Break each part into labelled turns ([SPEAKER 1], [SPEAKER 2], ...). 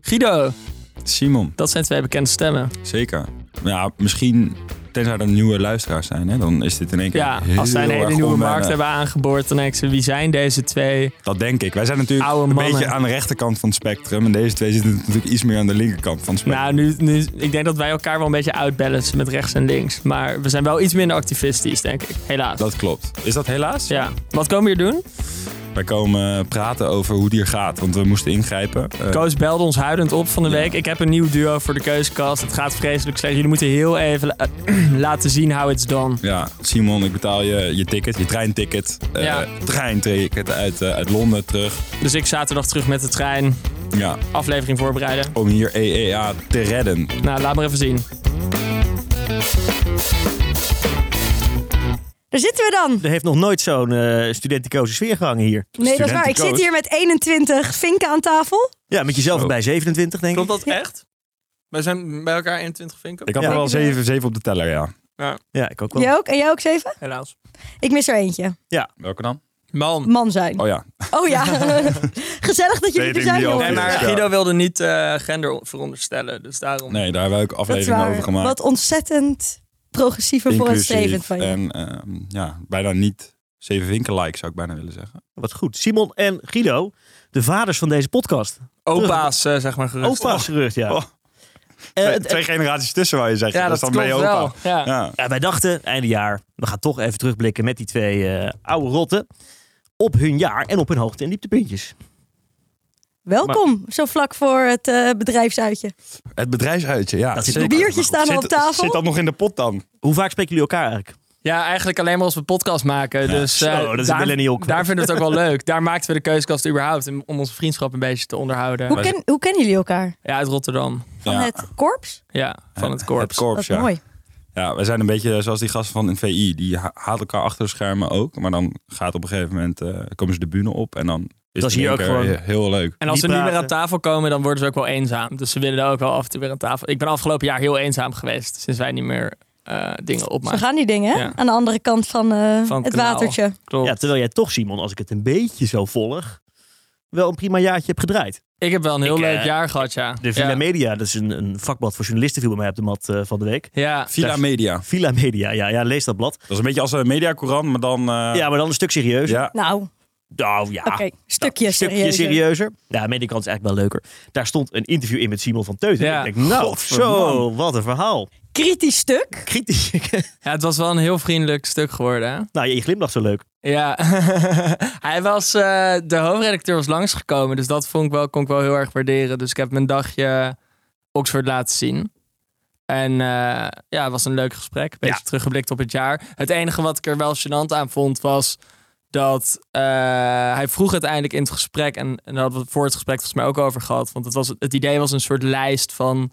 [SPEAKER 1] Guido,
[SPEAKER 2] Simon,
[SPEAKER 1] dat zijn twee bekende stemmen.
[SPEAKER 2] zeker. Ja, misschien, tenzij er nieuwe luisteraars zijn, hè, dan is dit in één keer
[SPEAKER 1] Ja,
[SPEAKER 2] heel
[SPEAKER 1] als zij een hele
[SPEAKER 2] erg
[SPEAKER 1] nieuwe
[SPEAKER 2] onwennig.
[SPEAKER 1] markt hebben aangeboord, dan denk ik ze, wie zijn deze twee?
[SPEAKER 2] Dat denk ik. Wij zijn natuurlijk
[SPEAKER 1] Oude
[SPEAKER 2] een
[SPEAKER 1] mannen.
[SPEAKER 2] beetje aan de rechterkant van het spectrum. En deze twee zitten natuurlijk iets meer aan de linkerkant van het spectrum.
[SPEAKER 1] Nou, nu, nu, ik denk dat wij elkaar wel een beetje uitbalancen met rechts en links. Maar we zijn wel iets minder activistisch, denk ik. Helaas.
[SPEAKER 2] Dat klopt. Is dat helaas?
[SPEAKER 1] Ja. Wat komen we hier doen?
[SPEAKER 2] Wij komen eh, praten over hoe het hier gaat, want we moesten ingrijpen. Eh,
[SPEAKER 1] Koos belde ons huilend op van de week. Ik heb een nieuw duo voor de keuzekast. Het gaat vreselijk slecht. Jullie moeten heel even la- laten zien how it's done.
[SPEAKER 2] ja, Simon, ik betaal je je ticket, je treinticket. eh
[SPEAKER 1] Ja.
[SPEAKER 2] Treinticket uit, eh, uit Londen terug.
[SPEAKER 1] Dus ik zaterdag terug met de trein.
[SPEAKER 2] Ja,
[SPEAKER 1] Aflevering voorbereiden.
[SPEAKER 2] om hier EEA te redden.
[SPEAKER 1] Nou, laat maar even zien.
[SPEAKER 3] Daar zitten we dan.
[SPEAKER 4] Er heeft nog nooit zo'n eh studentenkozen sfeer gehangen hier.
[SPEAKER 3] Nee, dat is waar. Ik zit hier met 21 vinken aan tafel.
[SPEAKER 4] Ja, met jezelf
[SPEAKER 2] Zo.
[SPEAKER 4] bij 27, denk ik.
[SPEAKER 1] dat echt? Wij zijn bij elkaar 21 vinken?
[SPEAKER 2] Ik had
[SPEAKER 4] Ja.
[SPEAKER 2] er wel zeven, zeven op de teller, ja.
[SPEAKER 4] Ja, ik ook wel.
[SPEAKER 3] Jij ook? En jij ook zeven?
[SPEAKER 1] Helaas.
[SPEAKER 3] Ik mis er eentje.
[SPEAKER 2] Welke dan?
[SPEAKER 1] Man.
[SPEAKER 3] Man zijn.
[SPEAKER 2] Oh ja,
[SPEAKER 3] Oh ja. Gezellig dat jullie
[SPEAKER 2] Dating
[SPEAKER 3] er zijn,
[SPEAKER 2] die al
[SPEAKER 3] jongens.
[SPEAKER 1] Nee, maar
[SPEAKER 2] Ja.
[SPEAKER 1] Guido wilde niet eh, gender veronderstellen. Dus daarom.
[SPEAKER 2] nee, daar hebben we ook
[SPEAKER 3] Dat is
[SPEAKER 2] afleveringen over
[SPEAKER 3] waar.
[SPEAKER 2] gemaakt.
[SPEAKER 3] Wat ontzettend progressief en vooruitstrevend
[SPEAKER 2] Inclusief.
[SPEAKER 3] van je.
[SPEAKER 2] En ehm, ja, bijna niet zeven winkel-like zou ik bijna willen zeggen.
[SPEAKER 4] Wat goed. Simon en Guido, de vaders van deze podcast.
[SPEAKER 1] Opa's, eh, zeg maar gerust.
[SPEAKER 4] Opa's gerucht, ja.
[SPEAKER 2] Oh.
[SPEAKER 4] Eh,
[SPEAKER 2] Twee,
[SPEAKER 4] het-
[SPEAKER 2] twee generaties tussen, wou je zeggen.
[SPEAKER 1] Ja,
[SPEAKER 2] dus
[SPEAKER 1] dat,
[SPEAKER 2] dan ben
[SPEAKER 1] klopt
[SPEAKER 2] je opa.
[SPEAKER 1] wel. Ja.
[SPEAKER 2] Ja.
[SPEAKER 4] ja, wij dachten, einde jaar, we gaan toch even terugblikken met die twee eh, oude rotten. Op hun jaar en op hun hoogte- en dieptepuntjes.
[SPEAKER 3] Welkom, zo vlak voor het eh, bedrijfsuitje.
[SPEAKER 2] Het bedrijfsuitje, ja.
[SPEAKER 4] Dat zit
[SPEAKER 2] zeker.
[SPEAKER 4] nog-
[SPEAKER 3] Biertjes staan al
[SPEAKER 2] Zit-
[SPEAKER 3] op tafel.
[SPEAKER 2] Zit dat nog in de pot dan?
[SPEAKER 4] Hoe vaak spreken jullie elkaar eigenlijk?
[SPEAKER 1] Ja, eigenlijk alleen maar als we podcast maken. dus,
[SPEAKER 4] zo,
[SPEAKER 1] eh,
[SPEAKER 4] dat is een
[SPEAKER 1] daar,
[SPEAKER 4] millennial quote.
[SPEAKER 1] daar vinden we het ook wel leuk. Daar maakten we de keuzekast überhaupt om om onze vriendschap een beetje te onderhouden.
[SPEAKER 3] Hoe, ken, hoe kennen jullie elkaar?
[SPEAKER 1] Ja, uit Rotterdam.
[SPEAKER 3] Van
[SPEAKER 2] Ja.
[SPEAKER 3] het korps?
[SPEAKER 1] Ja, van het korps.
[SPEAKER 2] Het korps,
[SPEAKER 3] Dat is
[SPEAKER 2] ja.
[SPEAKER 3] mooi.
[SPEAKER 2] Ja, wij zijn een beetje zoals die gasten van een VI. Die ha- haat elkaar achter de schermen ook. Maar dan gaat op een gegeven moment, eh, komen ze de bühne op. En dan is het
[SPEAKER 4] is hier
[SPEAKER 2] in één
[SPEAKER 4] ook
[SPEAKER 2] keer
[SPEAKER 4] gewoon-
[SPEAKER 2] heel leuk.
[SPEAKER 1] En als
[SPEAKER 4] Niet
[SPEAKER 1] ze nu weer
[SPEAKER 4] praten.
[SPEAKER 1] aan tafel komen, dan worden ze ook wel eenzaam. Dus ze willen daar ook wel af en toe weer aan tafel. Ik ben afgelopen jaar heel eenzaam geweest, sinds wij niet meer eh, dingen
[SPEAKER 3] Zo
[SPEAKER 1] opmaken.
[SPEAKER 3] gaan die dingen, hè?
[SPEAKER 1] Ja.
[SPEAKER 3] Aan de andere kant van, eh,
[SPEAKER 1] Van het
[SPEAKER 3] het
[SPEAKER 1] kanaal.
[SPEAKER 3] watertje.
[SPEAKER 1] Klopt.
[SPEAKER 4] Ja, terwijl jij toch, Simon, als ik het een beetje zo volg, wel een prima jaartje hebt gedraaid.
[SPEAKER 1] Ik heb wel een heel
[SPEAKER 4] Ik,
[SPEAKER 1] leuk
[SPEAKER 4] eh,
[SPEAKER 1] jaar gehad, ja.
[SPEAKER 4] De Villa
[SPEAKER 1] ja.
[SPEAKER 4] Media, dat is een, een vakblad voor journalisten, viel bij mij op de mat eh, van de week.
[SPEAKER 1] Ja,
[SPEAKER 2] Villa
[SPEAKER 4] Daar-
[SPEAKER 2] Media.
[SPEAKER 4] Villa Media, ja, ja lees dat blad.
[SPEAKER 2] Dat is een beetje als een mediacourant, maar dan... eh,
[SPEAKER 4] Ja, dus- maar dan een stuk serieus.
[SPEAKER 2] ja.
[SPEAKER 3] Nou, oké.
[SPEAKER 4] Nou ja,
[SPEAKER 3] Stukje,
[SPEAKER 4] stukje
[SPEAKER 3] serieus.
[SPEAKER 4] serieuzer. Ja, aan de ene kant is eigenlijk wel leuker. Daar stond een interview in met Simon van Teuten.
[SPEAKER 1] Ja.
[SPEAKER 4] Ik denk, nou, zo,
[SPEAKER 2] Godverdomme.
[SPEAKER 4] wat een verhaal.
[SPEAKER 3] Kritisch stuk.
[SPEAKER 4] Kritisch.
[SPEAKER 1] ja, het was wel een heel vriendelijk stuk geworden, hè?
[SPEAKER 4] nou, je glimlacht zo leuk.
[SPEAKER 1] Ja, hij was, eh, de hoofdredacteur was langsgekomen, dus dat vond ik wel, kon ik wel heel erg waarderen. Dus ik heb mijn dagje Oxford laten zien. En eh, ja, het was een leuk gesprek. Een beetje
[SPEAKER 4] Ja.
[SPEAKER 1] teruggeblikt op het jaar. Het enige wat ik er wel gênant aan vond was dat eh, hij vroeg uiteindelijk in het gesprek, en, en daar hadden we het voor het gesprek volgens mij ook over gehad, want het, was, het idee was een soort lijst van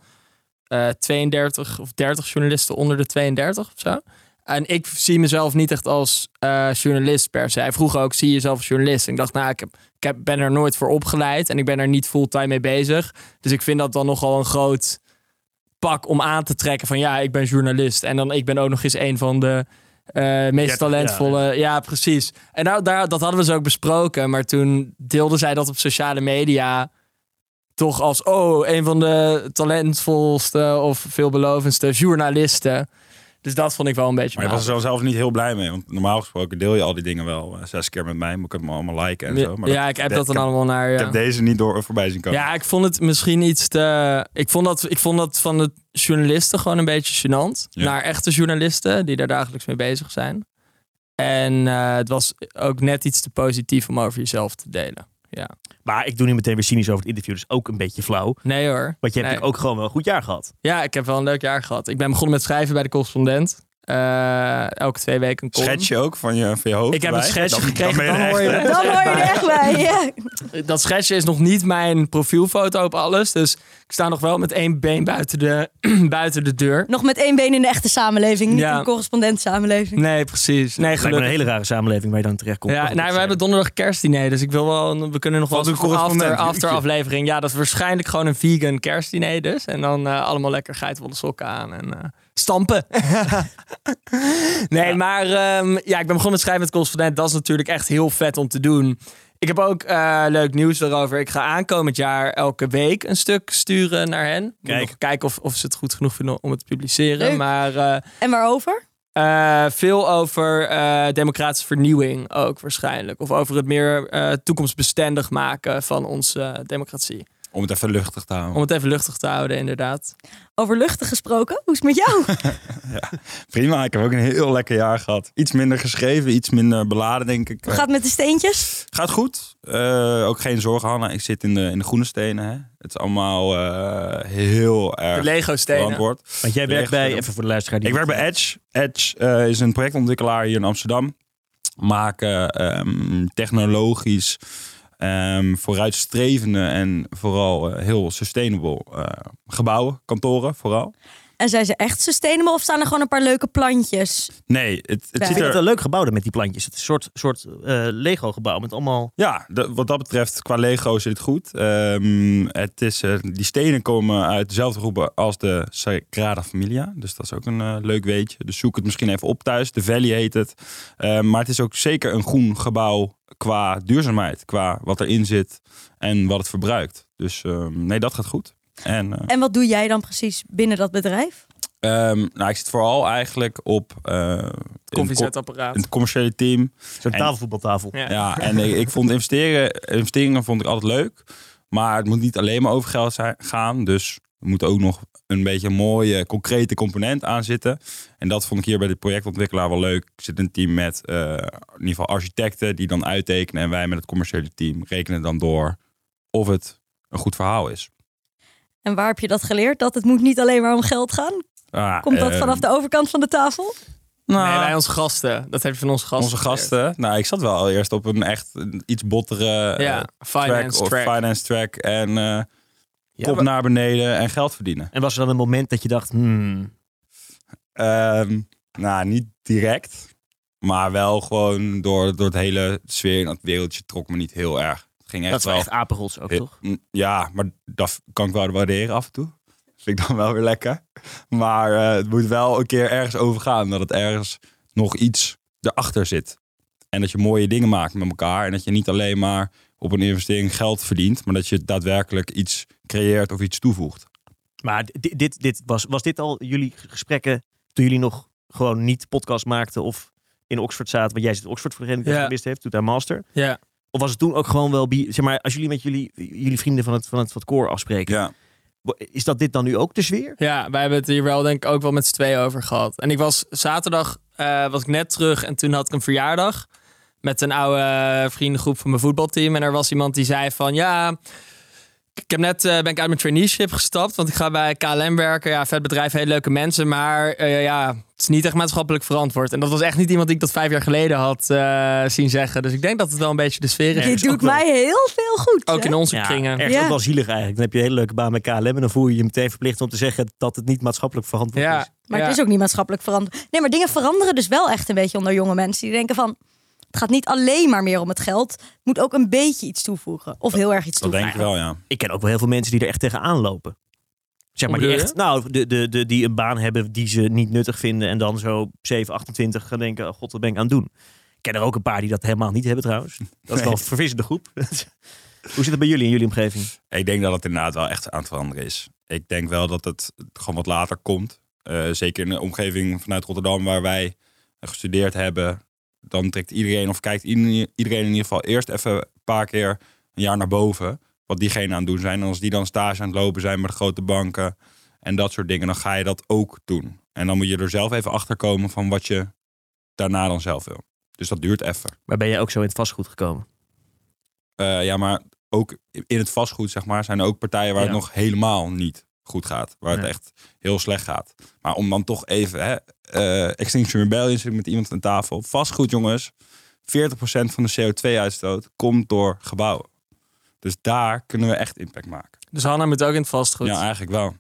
[SPEAKER 1] eh, 32 of 30 journalisten onder de 32 of zo. En ik zie mezelf niet echt als eh, journalist per se. Hij vroeg ook, zie je jezelf als journalist? En ik dacht, nou, ik, heb, ik heb, ben er nooit voor opgeleid en ik ben er niet fulltime mee bezig. Dus ik vind dat dan nogal een groot pak om aan te trekken van ja, ik ben journalist. En dan ik ben ook nog eens een van de eh, meest
[SPEAKER 4] Ja,
[SPEAKER 1] talentvolle. Ja, precies. En nou, daar, dat hadden we ze ook besproken. Maar toen deelde zij dat op sociale media toch als, oh, een van de talentvolste of veelbelovendste journalisten. Dus dat vond ik wel een beetje...
[SPEAKER 2] Maar je was
[SPEAKER 1] matig.
[SPEAKER 2] er zo zelf niet heel blij mee. Want normaal gesproken deel je al die dingen wel eh, zes keer met mij. Moet ik hem allemaal liken en zo. Maar
[SPEAKER 1] ja, ik heb dat dan allemaal naar.
[SPEAKER 2] Ik
[SPEAKER 1] Ja.
[SPEAKER 2] heb deze niet door voorbij zien komen.
[SPEAKER 1] ja, ik vond het misschien iets te. Ik vond dat, ik vond dat van de journalisten gewoon een beetje gênant.
[SPEAKER 2] Ja.
[SPEAKER 1] Naar echte journalisten die daar dagelijks mee bezig zijn. En eh, het was ook net iets te positief om over jezelf te delen.
[SPEAKER 4] Maar ik doe nu meteen weer cynisch over het interview, dus ook een beetje flauw.
[SPEAKER 1] Nee hoor.
[SPEAKER 4] Want je hebt
[SPEAKER 1] Nee.
[SPEAKER 4] natuurlijk ook gewoon wel een goed jaar gehad.
[SPEAKER 1] Ja, ik heb wel een leuk jaar gehad. Ik ben begonnen met schrijven bij de correspondent. Eh, elke twee weken een column.
[SPEAKER 2] Schetsje ook van je, van je hoofd
[SPEAKER 1] Ik heb een
[SPEAKER 2] erbij.
[SPEAKER 1] schetsje
[SPEAKER 2] Dan-
[SPEAKER 1] gekregen,
[SPEAKER 2] ben je eh,
[SPEAKER 1] dan
[SPEAKER 2] een
[SPEAKER 1] hoor je
[SPEAKER 2] echte.
[SPEAKER 1] het.
[SPEAKER 3] Dan hoor je er echt bij. Ja.
[SPEAKER 1] dat schetsje is nog niet mijn profielfoto op alles. Dus ik sta nog wel met één been buiten de, buiten de deur.
[SPEAKER 3] Nog met één been in de echte samenleving, niet
[SPEAKER 1] Ja.
[SPEAKER 3] een correspondent samenleving.
[SPEAKER 1] Nee, precies. Nee,
[SPEAKER 4] Lijkt me
[SPEAKER 1] gelukkig.
[SPEAKER 4] een hele rare samenleving waar je dan terecht komt.
[SPEAKER 1] Ja, nou, we hebben donderdag kerstdiner, dus ik wil wel. We kunnen nog wel
[SPEAKER 2] Wat
[SPEAKER 1] eens
[SPEAKER 2] een
[SPEAKER 1] voor after,
[SPEAKER 2] correspondent,
[SPEAKER 1] after
[SPEAKER 2] jeetje.
[SPEAKER 1] aflevering. Ja, dat is waarschijnlijk gewoon een vegan kerstdiner dus. En dan eh, allemaal lekker geitenwolle sokken aan en eh, stampen. nee, maar ehm, ja, ik ben begonnen met schrijven met correspondent. Dat is natuurlijk echt heel vet om te doen. Ik heb ook eh, leuk nieuws daarover. Ik ga aankomend jaar elke week een stuk sturen naar hen. Moet
[SPEAKER 4] Kijk.
[SPEAKER 1] nog kijken of, of ze het goed genoeg vinden om het te publiceren.
[SPEAKER 3] Leuk.
[SPEAKER 1] Maar eh,
[SPEAKER 3] En waarover?
[SPEAKER 1] eh, veel over eh, democratische vernieuwing ook waarschijnlijk. Of over het meer eh, toekomstbestendig maken van onze eh, democratie.
[SPEAKER 2] Om het even luchtig te houden.
[SPEAKER 1] Om het even luchtig te houden, inderdaad.
[SPEAKER 3] Over luchten gesproken? Hoe is het met jou?
[SPEAKER 2] Prima, ik heb ook een heel lekker jaar gehad. Iets minder geschreven, iets minder beladen, denk ik.
[SPEAKER 3] Hoe gaat het met de steentjes?
[SPEAKER 2] Gaat goed. Eh, ook geen zorgen, Hanna. Ik zit in de, in de groene stenen. Hè. Het is allemaal eh, heel
[SPEAKER 1] De
[SPEAKER 2] erg
[SPEAKER 1] Lego-stenen.
[SPEAKER 2] verantwoord.
[SPEAKER 4] Want jij werkt bij,
[SPEAKER 2] Leeg-
[SPEAKER 4] even voor de luisteraar. die-
[SPEAKER 2] Ik werk bij Edge. Edge eh, is een projectontwikkelaar hier in Amsterdam. Maken ehm, technologisch ehm, vooruitstrevende en vooral eh, heel sustainable eh, gebouwen, kantoren vooral.
[SPEAKER 3] En zijn ze echt sustainable of staan er gewoon een paar leuke plantjes?
[SPEAKER 2] Nee, het, het
[SPEAKER 3] Ja.
[SPEAKER 2] ziet
[SPEAKER 4] Ik vind
[SPEAKER 2] er
[SPEAKER 4] het een leuk gebouw daar met die plantjes. Het is een soort, soort eh, Lego-gebouw met allemaal...
[SPEAKER 2] Ja, de- wat dat betreft, qua Lego zit het goed. Ehm, het is, eh, die stenen komen uit dezelfde groepen als de Sagrada Familia. Dus dat is ook een eh, leuk weetje. Dus zoek het misschien even op thuis. De Valley heet het. Ehm, maar het is ook zeker een groen gebouw qua duurzaamheid. Qua wat erin zit en wat het verbruikt. Dus ehm, nee, dat gaat goed. En, eh,
[SPEAKER 3] En wat doe jij dan precies binnen dat bedrijf?
[SPEAKER 2] ehm, nou, ik zit vooral eigenlijk op eh, in
[SPEAKER 1] Koffiezetapparaat.
[SPEAKER 2] het commerciële team.
[SPEAKER 4] Zo'n
[SPEAKER 2] En-
[SPEAKER 4] tafelvoetbaltafel.
[SPEAKER 1] Ja.
[SPEAKER 2] Ja, en ik, ik vond investeren, investeringen vond ik altijd leuk. Maar het moet niet alleen maar over geld zijn, gaan. Dus er moet ook nog een beetje een mooie, concrete component aan zitten. En dat vond ik hier bij de projectontwikkelaar wel leuk. Ik zit in een team met eh, in ieder geval architecten die dan uittekenen. En wij met het commerciële team rekenen dan door of het een goed verhaal is.
[SPEAKER 3] En waar heb je dat geleerd? Dat het moet niet alleen maar om geld gaan?
[SPEAKER 2] Ah,
[SPEAKER 3] Komt
[SPEAKER 1] Ehm,
[SPEAKER 3] dat
[SPEAKER 2] eh,
[SPEAKER 3] vanaf de overkant van de tafel?
[SPEAKER 2] nou,
[SPEAKER 1] Nee, bij onze gasten. Dat heb je van onze gasten.
[SPEAKER 2] onze gasten. Nou, ik zat wel eerst op een echt een iets bottere eh,
[SPEAKER 1] Ja, finance
[SPEAKER 2] track,
[SPEAKER 1] track.
[SPEAKER 2] Of finance track. En eh,
[SPEAKER 4] Ja.
[SPEAKER 2] kop naar beneden en geld verdienen.
[SPEAKER 4] En was er dan een moment dat je dacht... Hmm,
[SPEAKER 2] Ehm, nou, niet direct. Maar wel gewoon door, door het hele sfeer in dat wereldje trok me niet heel erg. Het ging echt
[SPEAKER 4] dat is wel
[SPEAKER 2] wel.
[SPEAKER 4] echt apenrots ook,
[SPEAKER 2] Ja,
[SPEAKER 4] toch?
[SPEAKER 2] mm, Ja, maar dat kan ik wel waarderen af en toe. Vind ik dan wel weer lekker. Maar eh, het moet wel een keer ergens overgaan. Dat het ergens nog iets erachter zit. En dat je mooie dingen maakt met elkaar. En dat je niet alleen maar op een investering geld verdient. Maar dat je daadwerkelijk iets creëert of iets toevoegt.
[SPEAKER 4] Maar dit, dit, dit was, was dit al jullie gesprekken toen jullie nog gewoon niet podcast maakten of in Oxford zaten? Want jij zit in Oxford voor degene die
[SPEAKER 1] Ja.
[SPEAKER 4] dat gemist heeft, toen daar master.
[SPEAKER 1] Ja.
[SPEAKER 4] Of was het toen ook gewoon wel, bi- zeg maar, als jullie met jullie, jullie vrienden van het, van het, van het koor afspreken,
[SPEAKER 2] Ja.
[SPEAKER 4] wa- is dat dit dan nu ook de sfeer?
[SPEAKER 1] Ja, wij hebben het hier wel denk ik ook wel met z'n tweeën over gehad. En ik was zaterdag eh, was ik net terug en toen had ik een verjaardag met een oude eh, vriendengroep van mijn voetbalteam. En er was iemand die zei van ja, ik heb net eh, ben ik uit mijn traineeship gestapt, want ik ga bij KLM werken. Ja, vet bedrijf, hele leuke mensen, maar eh, ja, het is niet echt maatschappelijk verantwoord. En dat was echt niet iemand die ik dat vijf jaar geleden had eh, zien zeggen. Dus ik denk dat het wel een beetje de sfeer is.
[SPEAKER 3] Dit
[SPEAKER 4] is ook
[SPEAKER 3] doet
[SPEAKER 4] wel-
[SPEAKER 3] mij heel veel goed.
[SPEAKER 1] Ook
[SPEAKER 3] hè?
[SPEAKER 1] in onze kringen.
[SPEAKER 4] ergens
[SPEAKER 3] Ja.
[SPEAKER 4] ook wel zielig eigenlijk. Dan heb je een hele leuke baan bij KLM en dan voel je je meteen verplicht om te zeggen dat het niet maatschappelijk verantwoord
[SPEAKER 1] Ja,
[SPEAKER 4] is.
[SPEAKER 3] Maar
[SPEAKER 1] ja.
[SPEAKER 3] het is ook niet maatschappelijk veranderd. Nee, maar dingen veranderen dus wel echt een beetje onder jonge mensen. Die denken van, het gaat niet alleen maar meer om het geld. Het moet ook een beetje iets toevoegen. Of heel erg iets
[SPEAKER 2] Dat denk
[SPEAKER 3] toevoegen.
[SPEAKER 2] ik wel, ja.
[SPEAKER 4] ik ken ook wel heel veel mensen die er echt tegenaan lopen. Zeg maar,
[SPEAKER 1] Hoe
[SPEAKER 4] die
[SPEAKER 1] bedoel
[SPEAKER 4] echt, nou, de, de, de, die een baan hebben die ze niet nuttig vinden. En dan zo op 7, 28 gaan denken, oh god, wat ben ik aan het doen? Ik ken er ook een paar die dat helemaal niet hebben trouwens. Dat is wel een vervissende groep. Hoe zit het bij jullie in jullie omgeving?
[SPEAKER 2] Ik denk dat het inderdaad wel echt aan het veranderen is. Ik denk wel dat het gewoon wat later komt. Eh, zeker in de omgeving vanuit Rotterdam waar wij gestudeerd hebben. Dan trekt iedereen of kijkt ieder- iedereen in ieder geval eerst even een paar keer een jaar naar boven. Wat diegene aan het doen zijn. En als die dan stage aan het lopen zijn met de grote banken en dat soort dingen. Dan ga je dat ook doen. En dan moet je er zelf even achter komen van wat je daarna dan zelf wil. Dus dat duurt even.
[SPEAKER 4] Maar ben jij ook zo in het vastgoed gekomen?
[SPEAKER 2] Eh, ja, maar ook in het vastgoed, zeg maar, zijn er ook partijen waar het
[SPEAKER 4] Ja.
[SPEAKER 2] nog helemaal niet goed gaat. Waar het
[SPEAKER 4] Ja.
[SPEAKER 2] echt heel slecht gaat. Maar om dan toch even, hè, eh, Extinction Rebellion zit ik met iemand aan tafel. Vastgoed, jongens, 40% van de CO2-uitstoot komt door gebouwen. Dus daar kunnen we echt impact maken.
[SPEAKER 1] Dus Hanna moet ook in het vastgoed.
[SPEAKER 2] Ja, eigenlijk wel.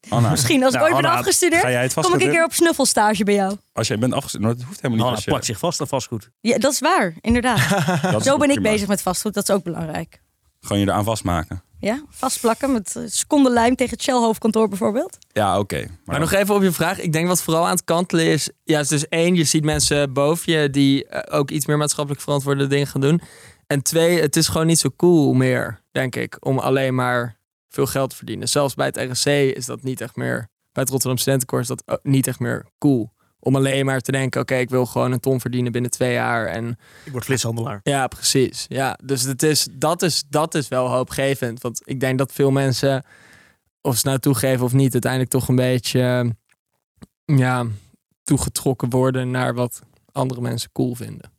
[SPEAKER 2] Anna,
[SPEAKER 3] Misschien als ik
[SPEAKER 2] Nou,
[SPEAKER 3] ooit ben
[SPEAKER 2] Anna, ga
[SPEAKER 3] afgestudeerd,
[SPEAKER 2] jij het
[SPEAKER 3] kom ik
[SPEAKER 2] vastgoed
[SPEAKER 3] een
[SPEAKER 2] in?
[SPEAKER 3] keer op snuffelstage bij jou.
[SPEAKER 2] Als jij bent afgestudeerd, nou, dat hoeft helemaal
[SPEAKER 4] Hanna
[SPEAKER 2] niet.
[SPEAKER 4] plakt zich vast aan vastgoed.
[SPEAKER 3] Ja, dat is waar, inderdaad.
[SPEAKER 2] Dat is
[SPEAKER 3] Zo ben ik
[SPEAKER 2] prima.
[SPEAKER 3] bezig met vastgoed, dat is ook belangrijk.
[SPEAKER 2] Gewoon je eraan vastmaken.
[SPEAKER 3] Ja, vastplakken met eh, seconde lijm tegen het Shell hoofdkantoor bijvoorbeeld.
[SPEAKER 2] Ja, oké.
[SPEAKER 1] Maar nog even op je vraag. Ik denk wat vooral aan het kantelen is. Ja, dus één, je ziet mensen boven je die eh, ook iets meer maatschappelijk verantwoorde dingen gaan doen. En twee, het is gewoon niet zo cool meer, denk ik, om alleen maar veel geld te verdienen. Zelfs bij het RSC is dat niet echt meer, bij het Rotterdam Studentenkoor is dat eh, niet echt meer cool. Om alleen maar te denken, oké, ik wil gewoon een ton verdienen binnen twee jaar. En
[SPEAKER 4] Ik word flitshandelaar.
[SPEAKER 1] ja, precies. Ja, dus het is, dat, is, dat is wel hoopgevend. Want ik denk dat veel mensen, of ze nou toegeven of niet, uiteindelijk toch een beetje eh, ja, toegetrokken worden naar wat andere mensen cool vinden.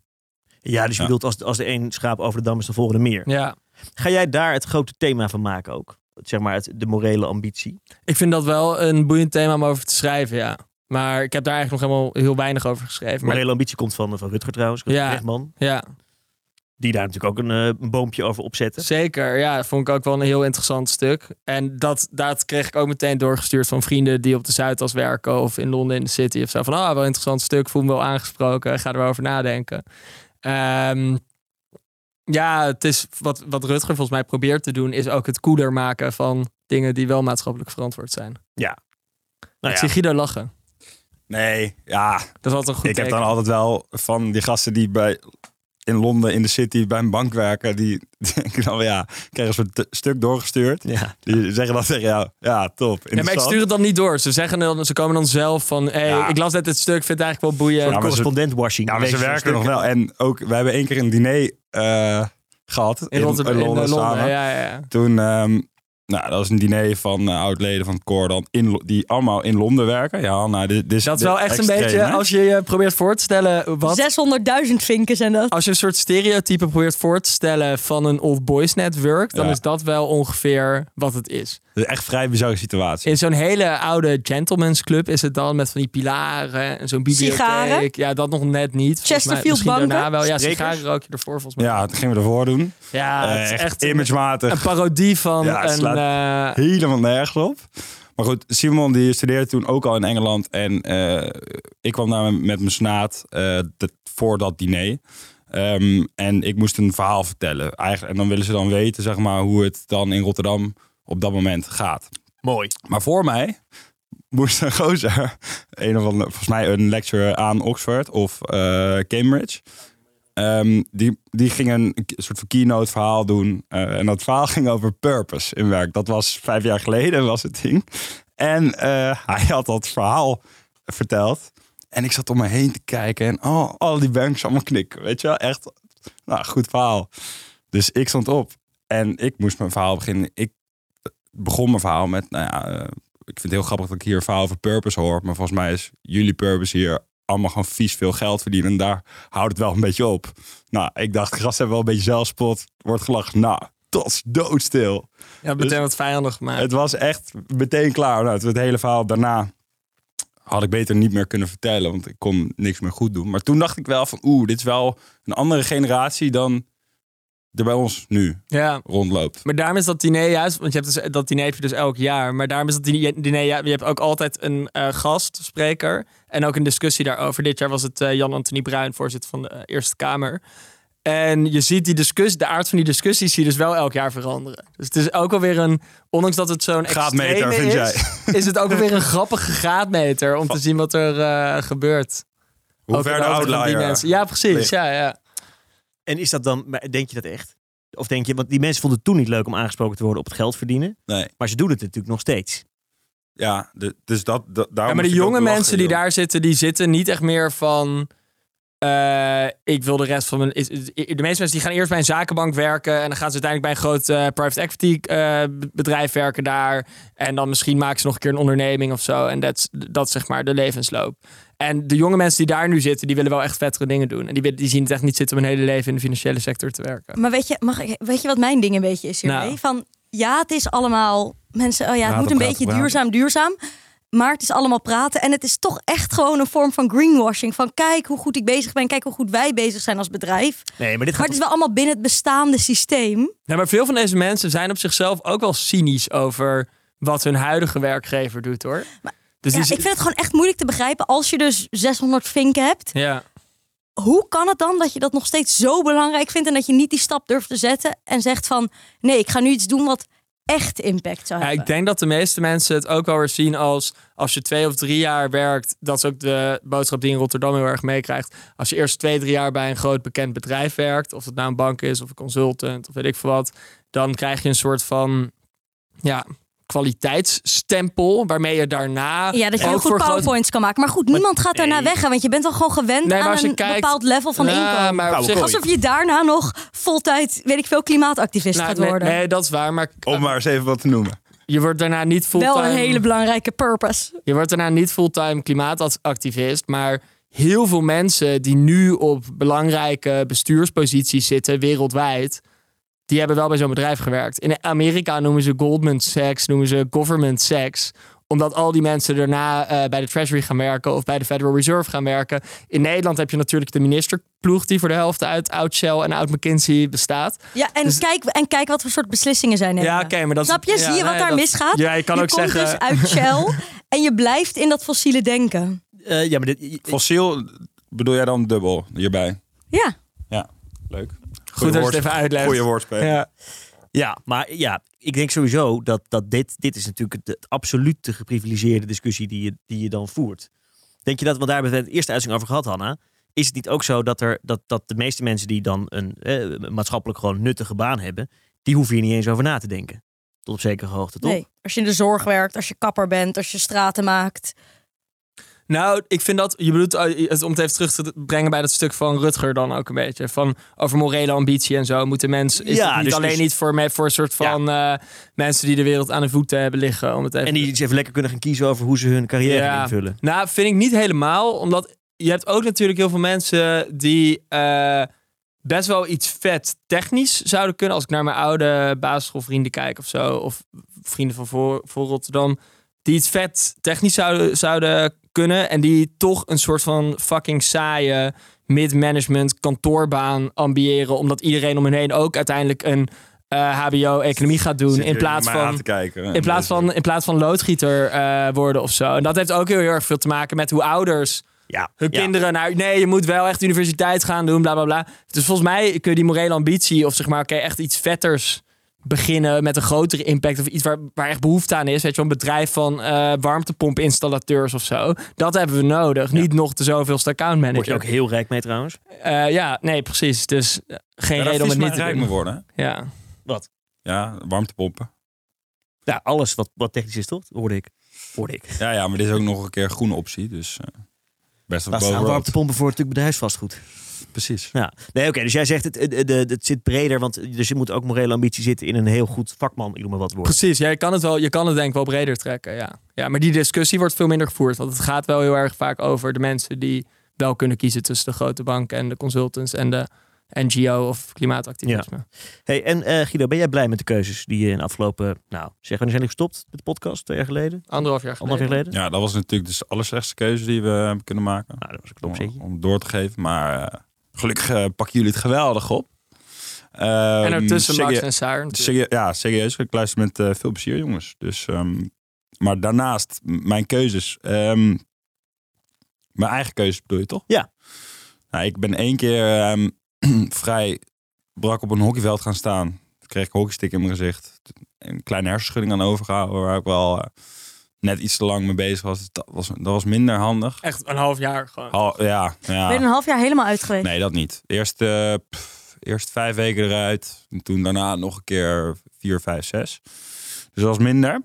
[SPEAKER 4] Ja, dus je
[SPEAKER 2] Ja.
[SPEAKER 4] bedoelt als, als de een schaap over de dam is, de volgende meer.
[SPEAKER 1] Ja.
[SPEAKER 4] Ga jij daar het grote thema van maken ook? Zeg maar het, de morele ambitie.
[SPEAKER 1] Ik vind dat wel een boeiend thema om over te schrijven, ja. Maar ik heb daar eigenlijk nog helemaal heel weinig over geschreven. Maar
[SPEAKER 4] morele ambitie komt van, van Rutger trouwens, Rutger
[SPEAKER 1] Ja.
[SPEAKER 4] Bregman,
[SPEAKER 1] ja,
[SPEAKER 4] Die daar natuurlijk ook een, eh, een boompje over opzetten.
[SPEAKER 1] zeker. Ja, dat vond ik ook wel een heel interessant stuk. En dat, dat kreeg ik ook meteen doorgestuurd van vrienden die op de Zuidas werken of in Londen in de City of zo. Van, ah, wel een interessant stuk, voel me wel aangesproken, ga er wel over nadenken. Ehm, ja, het is wat, wat Rutger volgens mij probeert te doen, is ook het koeler maken van dingen die wel maatschappelijk verantwoord zijn.
[SPEAKER 4] Nou
[SPEAKER 1] ik
[SPEAKER 4] ja,
[SPEAKER 1] zie Guido lachen.
[SPEAKER 2] Nee, ja,
[SPEAKER 1] Dat is altijd een goed
[SPEAKER 2] ik heb
[SPEAKER 1] teken.
[SPEAKER 2] dan altijd wel van die gasten die bij in Londen in de city bij een bank werken, die denken dan ja, krijgen ze een t- stuk doorgestuurd.
[SPEAKER 4] ja.
[SPEAKER 2] Die zeggen dan tegen jou, ja, top.
[SPEAKER 1] Ja, maar ik
[SPEAKER 2] interessant.
[SPEAKER 1] stuur het dan niet door. Ze, zeggen dan, ze komen dan zelf van... Hey,
[SPEAKER 2] Ja.
[SPEAKER 1] ik las net dit stuk, vind het eigenlijk wel
[SPEAKER 4] Nou,
[SPEAKER 1] boeiend.
[SPEAKER 2] Ja, maar ze-
[SPEAKER 4] correspondent washing.
[SPEAKER 2] Ja, maar ze
[SPEAKER 4] Lees zo'n
[SPEAKER 2] werken
[SPEAKER 4] stuk.
[SPEAKER 2] nog wel. En ook, we hebben één keer een diner eh, gehad in,
[SPEAKER 1] in Rotterdam, in, eh,
[SPEAKER 2] Londen
[SPEAKER 1] Londen.
[SPEAKER 2] samen.
[SPEAKER 1] Ja, ja, ja.
[SPEAKER 2] Toen, ehm, nou, dat is een diner van eh, oud-leden van het koor dan in, Lo- die allemaal in Londen werken. Ja, nou, dit, dit is
[SPEAKER 1] Dat is
[SPEAKER 2] dit
[SPEAKER 1] wel echt
[SPEAKER 2] extreem,
[SPEAKER 1] een beetje...
[SPEAKER 2] hè?
[SPEAKER 1] Als je je probeert voor te stellen... Wat,
[SPEAKER 3] 600.000 vinken zijn dat.
[SPEAKER 2] Oh.
[SPEAKER 1] als je een soort stereotype probeert voor te stellen... van een old boys network... dan
[SPEAKER 2] Ja.
[SPEAKER 1] is dat wel ongeveer wat het is.
[SPEAKER 2] Dat is echt een vrij bizarre situatie.
[SPEAKER 1] In zo'n hele oude gentleman's club is het dan... met van die pilaren en zo'n bibliotheek.
[SPEAKER 3] Sigaren?
[SPEAKER 1] Ja, dat nog net niet. volgens mij.
[SPEAKER 3] Chesterfield
[SPEAKER 1] Misschien daarna
[SPEAKER 3] banken?
[SPEAKER 1] wel. Ja,
[SPEAKER 4] Sprekers?
[SPEAKER 1] sigaren rook je ervoor volgens mij.
[SPEAKER 2] Ja, dat gingen we ervoor doen.
[SPEAKER 1] Ja,
[SPEAKER 2] Eh,
[SPEAKER 1] het is
[SPEAKER 2] echt,
[SPEAKER 1] echt een,
[SPEAKER 2] imagematig.
[SPEAKER 1] een parodie van
[SPEAKER 2] Ja, het
[SPEAKER 1] een...
[SPEAKER 2] slaat
[SPEAKER 1] eh,
[SPEAKER 2] helemaal nergens op. Maar goed, Simon die studeerde toen ook al in Engeland. En eh, ik kwam daar met mijn senaat eh, dat- voor dat diner. Ehm, en ik moest een verhaal vertellen. Eigenlijk, en dan willen ze dan weten zeg maar, hoe het dan in Rotterdam op dat moment gaat.
[SPEAKER 4] Mooi.
[SPEAKER 2] Maar voor mij moest een gozer, een of andere, volgens mij een lecturer aan Oxford of eh, Cambridge. Ehm, die, die ging een k- soort van keynote verhaal doen. Eh, en dat verhaal ging over purpose in werk. Dat was vijf jaar geleden, was het ding. En eh, hij had dat verhaal verteld. En ik zat om me heen te kijken. En oh, al die banks allemaal knikken. Weet je wel, echt. Nou, goed verhaal. Dus ik stond op. En ik moest mijn verhaal beginnen. Ik begon mijn verhaal met, nou ja, eh, ik vind het heel grappig dat ik hier een verhaal over purpose hoor. Maar volgens mij is jullie purpose hier allemaal gewoon vies veel geld verdienen. En daar houdt het wel een beetje op. Nou, ik dacht, gasten hebben wel een beetje zelfspot. Wordt gelachen. Nou, tot doodstil.
[SPEAKER 1] Ja, meteen wat vijandig gemaakt.
[SPEAKER 2] Het was echt meteen klaar. Nou, het, het hele verhaal daarna had ik beter niet meer kunnen vertellen. Want ik kon niks meer goed doen. Maar toen dacht ik wel van, oeh, dit is wel een andere generatie dan er bij ons nu
[SPEAKER 1] Ja,
[SPEAKER 2] rondloopt.
[SPEAKER 1] maar daarom is dat diner juist, want je hebt dus, dat diner heb je dus elk jaar. Maar daarom is dat diner, diner ju- je hebt ook altijd een eh, gastspreker en ook een discussie daarover. Dit jaar was het eh, Jan-Anthony Bruin, voorzitter van de eh, Eerste Kamer. En je ziet die discussie, de aard van die discussies zie je dus wel elk jaar veranderen. Dus het is ook alweer een, ondanks dat het zo'n
[SPEAKER 2] Graadmeter,
[SPEAKER 1] extreme
[SPEAKER 2] vind
[SPEAKER 1] is,
[SPEAKER 2] jij?
[SPEAKER 1] is het ook alweer een grappige graadmeter om te zien wat er eh, gebeurt.
[SPEAKER 2] Hoe
[SPEAKER 1] Ook
[SPEAKER 2] ver
[SPEAKER 1] in
[SPEAKER 2] de
[SPEAKER 1] hoofden van die
[SPEAKER 2] outlier.
[SPEAKER 1] mensen. Ja, precies.
[SPEAKER 2] ligt.
[SPEAKER 1] Ja, ja.
[SPEAKER 4] En is dat dan, maar denk je dat echt? Of denk je, want die mensen vonden het toen niet leuk om aangesproken te worden op het geld verdienen.
[SPEAKER 2] Nee.
[SPEAKER 4] Maar ze doen het natuurlijk nog steeds.
[SPEAKER 2] Ja, de- dus dat, da- daarom
[SPEAKER 1] Ja, maar de
[SPEAKER 2] moest ik ook
[SPEAKER 1] jonge
[SPEAKER 2] lachen,
[SPEAKER 1] mensen die
[SPEAKER 2] joh.
[SPEAKER 1] daar zitten, die zitten niet echt meer van. eh, ik wil de rest van mijn. is- is- De meeste mensen die gaan eerst bij een zakenbank werken. En dan gaan ze uiteindelijk bij een groot eh, private equity eh, b- bedrijf werken daar. En dan misschien maken ze nog een keer een onderneming of zo. En dat, is- dat is zeg maar de levensloop. En de jonge mensen die daar nu zitten, die willen wel echt vettere dingen doen. En die, willen- die zien het echt niet zitten om hun hele leven in de financiële sector te werken.
[SPEAKER 3] Maar weet je, mag ik, weet je wat mijn ding een beetje is hiermee?
[SPEAKER 1] Nou.
[SPEAKER 3] Van ja, het is allemaal mensen. Oh ja, het
[SPEAKER 2] Praten,
[SPEAKER 3] moet een
[SPEAKER 2] Nou, praten,
[SPEAKER 3] beetje
[SPEAKER 2] praten.
[SPEAKER 3] duurzaam, duurzaam. Maar het is allemaal praten en het is toch echt gewoon een vorm van greenwashing. Van kijk hoe goed ik bezig ben, kijk hoe goed wij bezig zijn als bedrijf.
[SPEAKER 4] Nee, maar dit
[SPEAKER 3] Maar
[SPEAKER 4] gaat
[SPEAKER 3] het is wel allemaal binnen het bestaande systeem.
[SPEAKER 1] Ja, maar veel van deze mensen zijn op zichzelf ook wel cynisch over wat hun huidige werkgever doet hoor. dus die
[SPEAKER 3] Ja, ik
[SPEAKER 1] zi-
[SPEAKER 3] vind het gewoon echt moeilijk te begrijpen als je dus 600 vinken hebt.
[SPEAKER 1] ja.
[SPEAKER 3] Hoe kan het dan dat je dat nog steeds zo belangrijk vindt en dat je niet die stap durft te zetten en zegt van nee, ik ga nu iets doen wat echt impact zou
[SPEAKER 1] Ja,
[SPEAKER 3] hebben.
[SPEAKER 1] ik denk dat de meeste mensen het ook wel weer zien als als je twee of drie jaar werkt. Dat is ook de boodschap die in Rotterdam heel erg meekrijgt. Als je eerst twee, drie jaar bij een groot bekend bedrijf werkt, of het nou een bank is of een consultant of weet ik veel wat, dan krijg je een soort van ja, kwaliteitsstempel waarmee je daarna
[SPEAKER 3] ja, dat je heel
[SPEAKER 1] ook
[SPEAKER 3] goed
[SPEAKER 1] voor grote-
[SPEAKER 3] PowerPoints kan maken. Maar goed, niemand gaat daarna
[SPEAKER 4] nee.
[SPEAKER 3] weggaan, want je bent al gewoon gewend
[SPEAKER 1] Nee, maar
[SPEAKER 3] aan
[SPEAKER 1] als je
[SPEAKER 3] een
[SPEAKER 1] kijkt-
[SPEAKER 3] bepaald level van
[SPEAKER 1] Ja,
[SPEAKER 3] inkomen.
[SPEAKER 1] maar op
[SPEAKER 4] Oude
[SPEAKER 1] zich-
[SPEAKER 4] kooi.
[SPEAKER 3] Alsof je daarna nog voltijd, weet ik veel, klimaatactivist
[SPEAKER 1] Nou,
[SPEAKER 3] gaat
[SPEAKER 1] nee,
[SPEAKER 3] worden.
[SPEAKER 1] nee, dat is waar, maar
[SPEAKER 2] Om maar eens even wat te noemen.
[SPEAKER 1] je wordt daarna niet fulltime.
[SPEAKER 3] Wel een hele belangrijke purpose.
[SPEAKER 1] Je wordt daarna niet fulltime klimaatactivist, maar heel veel mensen die nu op belangrijke bestuursposities zitten wereldwijd, die hebben wel bij zo'n bedrijf gewerkt. In Amerika noemen ze Goldman Sachs, noemen ze Government Sachs omdat al die mensen daarna eh, bij de Treasury gaan werken of bij de Federal Reserve gaan werken. In Nederland heb je natuurlijk de ministerploeg die voor de helft uit oud Shell en oud McKinsey bestaat.
[SPEAKER 3] Ja, en, kijk, en kijk wat voor soort beslissingen zij nemen.
[SPEAKER 1] Dus- Ja, oké, maar dat is-
[SPEAKER 3] Snap je?
[SPEAKER 1] ja,
[SPEAKER 3] Zie je wat
[SPEAKER 1] nee,
[SPEAKER 3] daar
[SPEAKER 1] dat-
[SPEAKER 3] misgaat?
[SPEAKER 1] Ja, je kan
[SPEAKER 3] je
[SPEAKER 1] ook
[SPEAKER 3] komt
[SPEAKER 1] zeggen.
[SPEAKER 3] dus uit Shell en je blijft in dat fossiele denken.
[SPEAKER 4] Eh, ja, maar dit,
[SPEAKER 2] Fossiel bedoel jij dan dubbel hierbij?
[SPEAKER 3] Ja,
[SPEAKER 2] Ja, leuk.
[SPEAKER 1] Goed dat je het even uitlegt.
[SPEAKER 2] Goeie woordspel.
[SPEAKER 1] Ja.
[SPEAKER 4] Ja, maar ja, ik denk sowieso dat, dat dit, dit is natuurlijk het, het absolute geprivilegeerde discussie die je, die je dan voert. Denk je dat, want daar hebben we het in de eerste uitzending over gehad, Hanna. Is het niet ook zo dat, er, dat, dat de meeste mensen die dan een eh, maatschappelijk gewoon nuttige baan hebben, die hoeven hier niet eens over na te denken? Tot op zekere hoogte, toch?
[SPEAKER 3] nee. Als je in de zorg werkt, als je kapper bent, als je straten maakt.
[SPEAKER 1] Nou, ik vind dat, je bedoelt, eh, het- om het even terug te brengen bij dat stuk van Rutger dan ook een beetje. Van over morele ambitie en zo moeten mensen, is
[SPEAKER 4] Ja,
[SPEAKER 1] het niet
[SPEAKER 4] dus-
[SPEAKER 1] alleen
[SPEAKER 4] dus-
[SPEAKER 1] niet voor, me, voor een soort van eh, mensen die de wereld aan de voeten hebben liggen. Om het even
[SPEAKER 4] En die eens even lekker kunnen gaan kiezen over hoe ze hun carrière
[SPEAKER 1] Ja.
[SPEAKER 4] gaan invullen.
[SPEAKER 1] nou, vind ik niet helemaal. Omdat je hebt ook natuurlijk heel veel mensen die eh, best wel iets vet technisch zouden kunnen. Als ik naar mijn oude basisschoolvrienden kijk of zo. Of vrienden van voor, voor Rotterdam. Die iets vet technisch zouden, zouden kunnen. En die toch een soort van fucking saaie mid-management kantoorbaan ambiëren. Omdat iedereen om hen heen ook uiteindelijk een eh, HBO-economie gaat doen. In plaats van... In plaats
[SPEAKER 2] Dus-
[SPEAKER 1] van, in plaats van loodgieter eh, worden of zo. En dat heeft ook heel, heel erg veel te maken met hoe ouders
[SPEAKER 4] Ja,
[SPEAKER 1] hun
[SPEAKER 4] ja.
[SPEAKER 1] kinderen naar. Nee, je moet wel echt universiteit gaan doen, bla bla bla. Dus volgens mij kun je die morele ambitie of zeg maar, oké, echt iets vetters beginnen met een grotere impact of iets waar, waar echt behoefte aan is. Weet je, wel, een bedrijf van eh warmtepompinstallateurs of zo. Dat hebben we nodig. Niet nog de zoveelste
[SPEAKER 4] Word je
[SPEAKER 1] accountmanager.
[SPEAKER 4] ook heel rijk mee trouwens.
[SPEAKER 1] Eh, ja, nee, precies. Dus eh, geen reden om het niet te
[SPEAKER 2] rijk
[SPEAKER 1] doen.
[SPEAKER 2] mee worden. hè?
[SPEAKER 1] Ja.
[SPEAKER 2] Ja, warmtepompen.
[SPEAKER 4] Ja, alles wat, wat technisch is, toch? Hoorde ik. Hoorde ik.
[SPEAKER 2] Ja, ja, maar dit is ook nog een keer een groene optie. Dus eh, best wel
[SPEAKER 4] Laat staan
[SPEAKER 2] boven.
[SPEAKER 4] warmtepompen voor natuurlijk bedrijfsvastgoed.
[SPEAKER 2] Precies.
[SPEAKER 4] Ja, nee, oké. dus jij zegt het, het, het, het zit breder, want dus je moet ook morele ambitie zitten in een heel goed vakman, ik noem maar wat woord.
[SPEAKER 1] Precies, ja, je kan het wel, je kan het denk ik wel breder trekken, ja. Ja, maar die discussie wordt veel minder gevoerd, want het gaat wel heel erg vaak over de mensen die wel kunnen kiezen tussen de grote banken en de consultants en de NGO of klimaatactivisme.
[SPEAKER 4] Hey, en eh, Guido, ben jij blij met de keuzes die je in de afgelopen, nou, zeg wanneer zijn jullie gestopt met de podcast? Twee jaar geleden?
[SPEAKER 1] Anderhalf jaar geleden.
[SPEAKER 4] Anderhalf jaar geleden?
[SPEAKER 2] Ja, dat was natuurlijk dus de allerslechtste keuze die we hebben kunnen maken.
[SPEAKER 4] Nou, dat was een
[SPEAKER 2] Om,
[SPEAKER 4] klopzetje.
[SPEAKER 2] om door te geven. Maar eh, gelukkig eh, pakken jullie het geweldig op. Ehm,
[SPEAKER 1] En ertussen Max
[SPEAKER 2] je
[SPEAKER 1] en Saar. natuurlijk.
[SPEAKER 2] Serie- ja, serieus. Ik luister met eh, veel plezier, jongens. Dus, ehm, maar daarnaast, m- mijn keuzes. ehm, mijn eigen keuzes bedoel je toch?
[SPEAKER 4] Ja.
[SPEAKER 2] Nou, ik ben één keer ehm, vrij brak op een hockeyveld gaan staan. Toen kreeg ik een hockeystick in mijn gezicht. Een kleine hersenschudding aan overgehouden, waar ik wel eh, net iets te lang mee bezig was. Dat was, dat was minder handig.
[SPEAKER 1] Echt een half jaar gewoon.
[SPEAKER 2] Al, ja, ja.
[SPEAKER 3] Ben je een half jaar helemaal uit geweest?
[SPEAKER 2] Nee, dat niet. Eerst, eh, pff, eerst vijf weken eruit. En toen daarna nog een keer vier, vijf, zes. Dus dat was minder.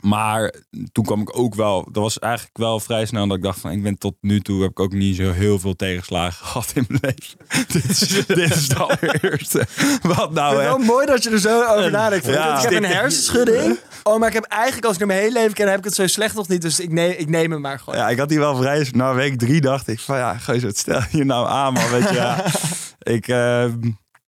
[SPEAKER 2] Maar toen kwam ik ook wel... Dat was eigenlijk wel vrij snel dat ik dacht van... Ik ben tot nu toe heb ik ook niet zo heel veel tegenslagen gehad in mijn leven. dit, is, dit is de allereerste. Wat nou, hè?
[SPEAKER 1] mooi dat je er zo over nadenkt.
[SPEAKER 2] Ja.
[SPEAKER 1] Want hersenschudding. Oh, maar ik heb eigenlijk, als ik naar mijn hele leven ken, heb ik het zo slecht nog niet. Dus ik neem, ik neem hem maar gewoon.
[SPEAKER 2] Ja, ik had die wel vrij. Na week drie dacht ik van ja, gozer, wat stel je nou aan, man. Weet je, ja. ik, ehm,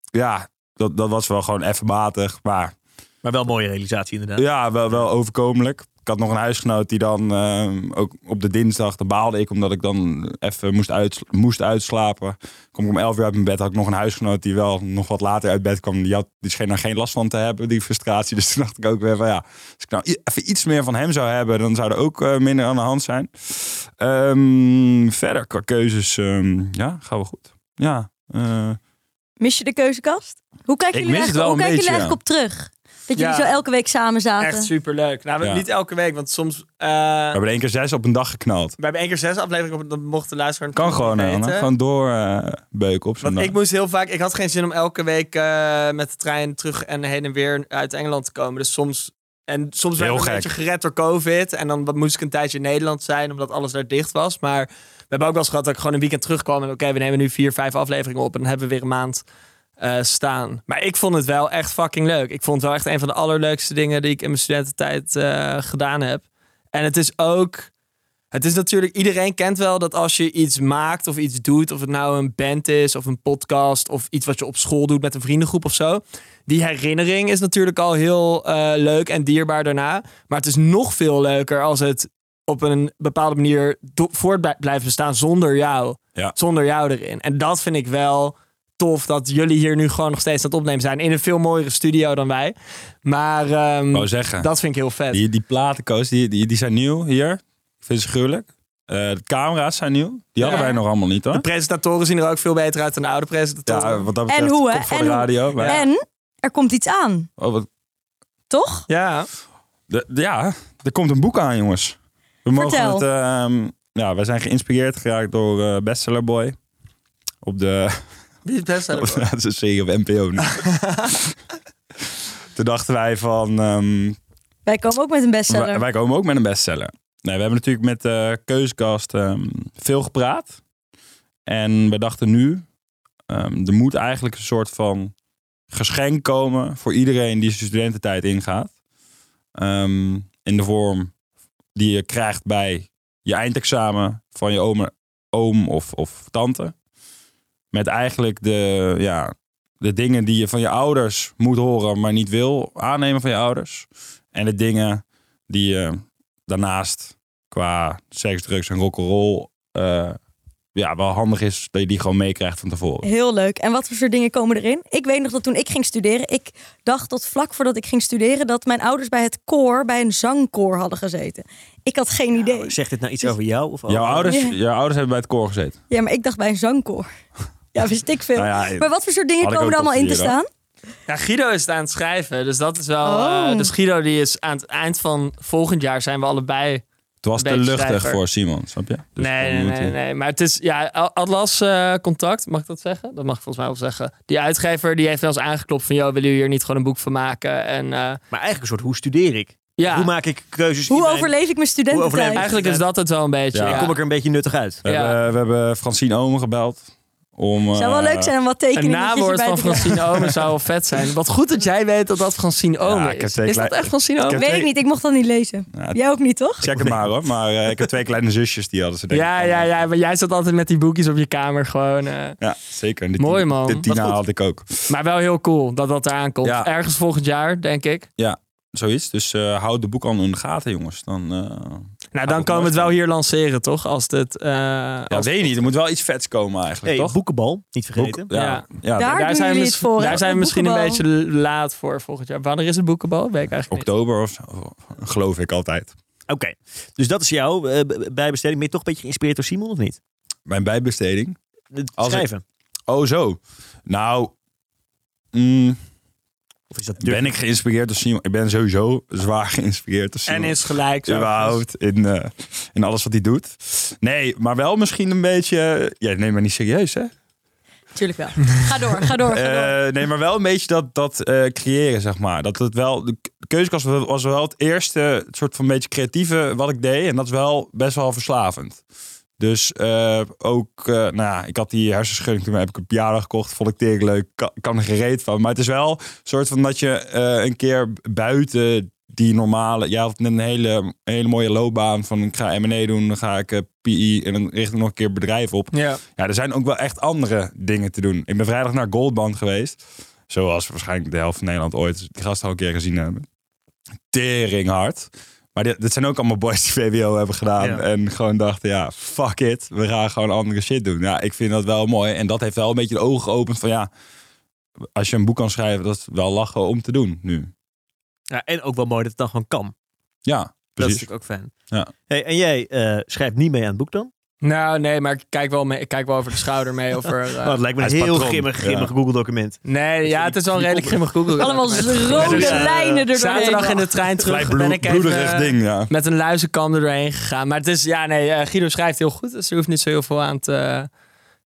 [SPEAKER 2] ja, dat, dat was wel gewoon even matig. Maar
[SPEAKER 4] Maar wel een mooie realisatie inderdaad.
[SPEAKER 2] Ja, wel, wel overkomelijk. Ik had nog een huisgenoot die dan ehm, ook op de dinsdag, daar baalde ik omdat ik dan even moest, uits- moest uitslapen. Kom ik om 11 uur uit mijn bed, had ik nog een huisgenoot die wel nog wat later uit bed kwam. Die, had, die scheen daar geen last van te hebben, die frustratie. Dus toen dacht ik ook weer van ja, als ik nou i- even iets meer van hem zou hebben, dan zou er ook eh, minder aan de hand zijn. Ehm, verder qua keuzes, ehm, ja, gaan we goed. Ja, eh,
[SPEAKER 3] Mis je de keuzekast? Hoe kijken
[SPEAKER 2] Ik
[SPEAKER 3] jullie,
[SPEAKER 2] mis het
[SPEAKER 3] eigenlijk,
[SPEAKER 2] wel
[SPEAKER 3] hoe
[SPEAKER 2] een
[SPEAKER 3] kijken jullie
[SPEAKER 2] beetje,
[SPEAKER 3] eigenlijk op terug? Dat
[SPEAKER 1] Ja.
[SPEAKER 3] jullie zo elke week samen zaten.
[SPEAKER 1] Echt superleuk. Nou, we-
[SPEAKER 2] Ja.
[SPEAKER 1] niet elke week, want soms... eh,
[SPEAKER 2] We hebben één keer zes op een dag geknald.
[SPEAKER 1] we hebben één keer zes afleveringen, op- dat mocht de luisteraar
[SPEAKER 2] Kan gewoon,
[SPEAKER 1] weten.
[SPEAKER 2] aan, Gewoon doorbeuken op zo'n
[SPEAKER 1] Want
[SPEAKER 2] dag.
[SPEAKER 1] ik moest heel vaak, ik had geen zin om elke week eh, met de trein terug en heen en weer uit Engeland te komen. Dus soms, en soms werd
[SPEAKER 2] Heel
[SPEAKER 1] ik een
[SPEAKER 2] gek.
[SPEAKER 1] beetje gered door COVID. En dan moest ik een tijdje in Nederland zijn, omdat alles daar dicht was. Maar we hebben ook wel eens gehad dat ik gewoon een weekend terugkwam. En oké, we nemen nu vier, vijf afleveringen op en dan hebben we weer een maand eh, staan. Maar ik vond het wel echt fucking leuk. Ik vond het wel echt een van de allerleukste dingen die ik in mijn studententijd eh, gedaan heb. En het is ook... Het is natuurlijk, iedereen kent wel dat als je iets maakt of iets doet, of het nou een band is of een podcast of iets wat je op school doet met een vriendengroep of zo. Die herinnering is natuurlijk al heel eh, leuk en dierbaar daarna. Maar het is nog veel leuker als het op een bepaalde manier do- voort blij- blijft bestaan zonder jou.
[SPEAKER 2] Ja.
[SPEAKER 1] Zonder jou erin. En dat vind ik wel tof dat jullie hier nu gewoon nog steeds aan het opnemen zijn. In een veel mooiere studio dan wij. Maar ehm,
[SPEAKER 2] wou zeggen.
[SPEAKER 1] dat vind ik heel vet.
[SPEAKER 2] Die, die platenkoos, die, die, die zijn nieuw hier. Ik vind ze gruwelijk. Eh, de camera's zijn nieuw. Die hadden wij nog allemaal niet,
[SPEAKER 1] De
[SPEAKER 2] hoor.
[SPEAKER 1] presentatoren zien er ook veel beter uit dan de oude presentatoren.
[SPEAKER 2] Ja, wat dat
[SPEAKER 3] En
[SPEAKER 2] betreft,
[SPEAKER 3] hoe, hè?
[SPEAKER 2] top voor
[SPEAKER 3] En
[SPEAKER 2] de
[SPEAKER 3] hoe?
[SPEAKER 2] radio. Wij-
[SPEAKER 3] En er komt iets aan,
[SPEAKER 2] Oh, wat-
[SPEAKER 3] toch?
[SPEAKER 1] Ja,
[SPEAKER 2] de- de- ja, er komt een boek aan, jongens. We mogen
[SPEAKER 3] Vertel.
[SPEAKER 2] het... ehm, ja, wij zijn geïnspireerd geraakt door eh Bestseller Boy. Op de...
[SPEAKER 1] die is best
[SPEAKER 2] op- dat is een serie op NPO nu. Toen dachten wij van... ehm,
[SPEAKER 3] Wij komen ook met een bestseller.
[SPEAKER 2] Wij, wij komen ook met een bestseller. Nee, we hebben natuurlijk met eh Keusgast ehm, veel gepraat. En we dachten nu, ehm, er moet eigenlijk een soort van geschenk komen voor iedereen die zijn studententijd ingaat. Ehm, in de vorm die je krijgt bij je eindexamen van je oom, oom of, of tante. Met eigenlijk de, ja, de dingen die je van je ouders moet horen, maar niet wil aannemen van je ouders. En de dingen die je daarnaast qua seks, drugs en rock'n'roll eh ja, wel handig is dat je die gewoon meekrijgt van tevoren.
[SPEAKER 3] Heel leuk. En wat voor soort dingen komen erin? Ik weet nog dat toen ik ging studeren, ik dacht dat vlak voordat ik ging studeren, dat mijn ouders bij het koor, bij een zangkoor hadden gezeten. Ik had geen idee.
[SPEAKER 4] Zegt dit nou iets over jou? Of over-
[SPEAKER 2] Jouw ouders,
[SPEAKER 3] Ja.
[SPEAKER 2] jouw ouders hebben bij het koor gezeten.
[SPEAKER 3] Ja, maar ik dacht bij een zangkoor. Ja, wist ik veel.
[SPEAKER 2] Nou ja,
[SPEAKER 3] Maar wat voor soort dingen
[SPEAKER 2] Had ik
[SPEAKER 3] komen er
[SPEAKER 2] ook
[SPEAKER 3] allemaal in te
[SPEAKER 2] opgeschreven.
[SPEAKER 3] staan?
[SPEAKER 1] Ja, Guido is het aan het schrijven, dus dat is wel...
[SPEAKER 3] Oh.
[SPEAKER 1] eh, dus Guido die is aan het eind van volgend jaar zijn we allebei...
[SPEAKER 2] het was te
[SPEAKER 1] Beetje
[SPEAKER 2] luchtig
[SPEAKER 1] schrijver.
[SPEAKER 2] voor Simon, snap je? Dus
[SPEAKER 1] nee,
[SPEAKER 2] dan
[SPEAKER 1] nee,
[SPEAKER 2] moet
[SPEAKER 1] nee,
[SPEAKER 2] hij-
[SPEAKER 1] nee. Maar het is, ja, Al- Atlas eh, Contact, mag ik dat zeggen? Dat mag ik volgens mij wel zeggen. Die uitgever die heeft wel eens aangeklopt van... joh, willen jullie hier niet gewoon een boek van maken? En eh,
[SPEAKER 4] Maar eigenlijk een soort, hoe studeer ik?
[SPEAKER 1] ja,
[SPEAKER 4] Hoe maak ik keuzes? in
[SPEAKER 3] Hoe
[SPEAKER 4] mijn-
[SPEAKER 3] overleef ik mijn
[SPEAKER 4] overleef ik-
[SPEAKER 3] studententijd?
[SPEAKER 1] eigenlijk is dat het wel een beetje.
[SPEAKER 2] Ja.
[SPEAKER 1] ja.
[SPEAKER 4] Kom ik er een beetje nuttig uit?
[SPEAKER 2] We,
[SPEAKER 1] Ja.
[SPEAKER 2] hebben, we hebben Francine Oom gebeld. Om, eh,
[SPEAKER 3] Zou wel leuk zijn om wat
[SPEAKER 1] Een
[SPEAKER 3] tekeningetjes erbij
[SPEAKER 1] nawoord
[SPEAKER 3] te
[SPEAKER 1] van
[SPEAKER 3] krijgen.
[SPEAKER 1] Francine Omen zou wel vet zijn. Wat goed dat jij weet dat dat Francine Omen
[SPEAKER 2] ik heb
[SPEAKER 1] is.
[SPEAKER 2] twee
[SPEAKER 1] Is dat
[SPEAKER 2] klein-
[SPEAKER 1] echt Francine Omen?
[SPEAKER 2] heb-
[SPEAKER 3] Weet ik niet, ik mocht dat niet lezen.
[SPEAKER 2] Ja,
[SPEAKER 3] Jij ook niet, toch?
[SPEAKER 2] Check het maar hoor. Maar eh, ik heb twee kleine zusjes die hadden ze denk ik
[SPEAKER 1] Ja,
[SPEAKER 2] van-
[SPEAKER 1] ja, ja. Maar jij zat altijd met die boekjes op je kamer gewoon... eh.
[SPEAKER 2] Ja, zeker. En De
[SPEAKER 1] Mooi,
[SPEAKER 2] tien-
[SPEAKER 1] man.
[SPEAKER 2] De
[SPEAKER 1] Wat
[SPEAKER 2] Tina
[SPEAKER 1] goed.
[SPEAKER 2] had ik ook.
[SPEAKER 1] Maar wel heel cool dat dat eraan komt.
[SPEAKER 2] Ja.
[SPEAKER 1] Ergens volgend jaar, denk ik.
[SPEAKER 2] Zoiets. Dus eh, houd de boek al in de gaten, jongens. Dan, eh,
[SPEAKER 1] Nou,
[SPEAKER 2] dat
[SPEAKER 1] dan komen we het
[SPEAKER 2] mooi.
[SPEAKER 1] wel hier lanceren, toch? Als dit... eh,
[SPEAKER 2] ja,
[SPEAKER 1] als-
[SPEAKER 2] weet je niet. Er moet wel iets vets komen eigenlijk,
[SPEAKER 4] Hey,
[SPEAKER 2] toch?
[SPEAKER 4] boekenbal, niet vergeten.
[SPEAKER 2] Boek- ja,
[SPEAKER 1] Ja.
[SPEAKER 2] ja.
[SPEAKER 3] Daar doen
[SPEAKER 1] zijn we
[SPEAKER 3] jullie
[SPEAKER 1] mis-
[SPEAKER 3] het voor, hè?
[SPEAKER 1] daar zijn we
[SPEAKER 3] Op
[SPEAKER 1] misschien een beetje
[SPEAKER 3] boekenbal.
[SPEAKER 1] laat voor volgend jaar. Wanneer is het boekenbal? Weet ik eigenlijk niet.
[SPEAKER 2] oktober of zo, geloof ik altijd.
[SPEAKER 4] Oké, dus dat is jouw eh, b- bijbesteding. Ben je toch een beetje geïnspireerd door Simon of niet?
[SPEAKER 2] Mijn bijbesteding.
[SPEAKER 4] Het
[SPEAKER 2] Als ik-
[SPEAKER 4] Schrijven.
[SPEAKER 2] Oh, zo. Nou, mm,
[SPEAKER 4] Of is dat
[SPEAKER 2] ben ik geïnspireerd door Simon? Ik ben sowieso zwaar geïnspireerd door Simon.
[SPEAKER 1] En is dus- gelijk. zo.
[SPEAKER 2] überhaupt in, eh, in alles wat hij doet. Nee, maar wel misschien een beetje. Ja, neem maar niet serieus, hè?
[SPEAKER 3] Tuurlijk wel. Ga door, ga door, ga door.
[SPEAKER 2] Eh, nee, maar wel een beetje dat, dat eh, creëren, zeg maar. Dat het wel, de keuzekast was was wel het eerste soort van beetje creatieve wat ik deed. En dat is wel best wel verslavend. Dus eh, ook, eh, nou ja, ik had die hersenschudding, toen heb ik een piano gekocht. Vond ik tegen leuk, kan, kan er gereed van. Maar het is wel een soort van dat je eh, een keer buiten die normale... Jij had net een hele, een hele mooie loopbaan van ik ga M&A doen, dan ga ik eh, PI en dan richt ik nog een keer bedrijf op.
[SPEAKER 1] Ja.
[SPEAKER 2] Ja, er zijn ook wel echt andere dingen te doen. Ik ben vrijdag naar Goldband geweest. Zoals waarschijnlijk de helft van Nederland ooit die gasten al een keer gezien hebben. Tering hard. Maar dit, dit zijn ook allemaal boys die VWO hebben gedaan.
[SPEAKER 4] Ja.
[SPEAKER 2] En gewoon dachten, ja, fuck it. We gaan gewoon andere shit doen. Ja, ik vind dat wel mooi. En dat heeft wel een beetje de ogen geopend van ja... Als je een boek kan schrijven, dat is wel lachen om te doen nu.
[SPEAKER 4] Ja, en ook wel mooi dat het dan gewoon kan.
[SPEAKER 2] Ja,
[SPEAKER 4] Dat is
[SPEAKER 2] precies.
[SPEAKER 4] natuurlijk ook fijn.
[SPEAKER 2] Ja.
[SPEAKER 4] Hey, en jij eh, schrijft niet mee aan het boek dan?
[SPEAKER 1] Nou, nee, maar ik kijk wel, mee, ik kijk wel over de schouder mee. Of er, eh,
[SPEAKER 4] Oh, het lijkt me een
[SPEAKER 2] Hij is
[SPEAKER 4] heel
[SPEAKER 2] patroon.
[SPEAKER 4] grimmig,
[SPEAKER 2] Ja.
[SPEAKER 4] grimmig Google-document.
[SPEAKER 1] nee, ja, het is wel een redelijk grimmig Google.
[SPEAKER 3] Allemaal rode
[SPEAKER 1] Dus, eh,
[SPEAKER 3] lijnen er
[SPEAKER 1] Zaterdag in de trein
[SPEAKER 2] Vrij
[SPEAKER 1] terug
[SPEAKER 2] bloe-
[SPEAKER 1] ben ik
[SPEAKER 2] bloederig
[SPEAKER 1] even eh,
[SPEAKER 2] ding, ja.
[SPEAKER 1] met een luizenkam er doorheen gegaan. Maar het is, ja, nee, eh, Guido schrijft heel goed. Dus er hoeft niet zo heel veel aan te,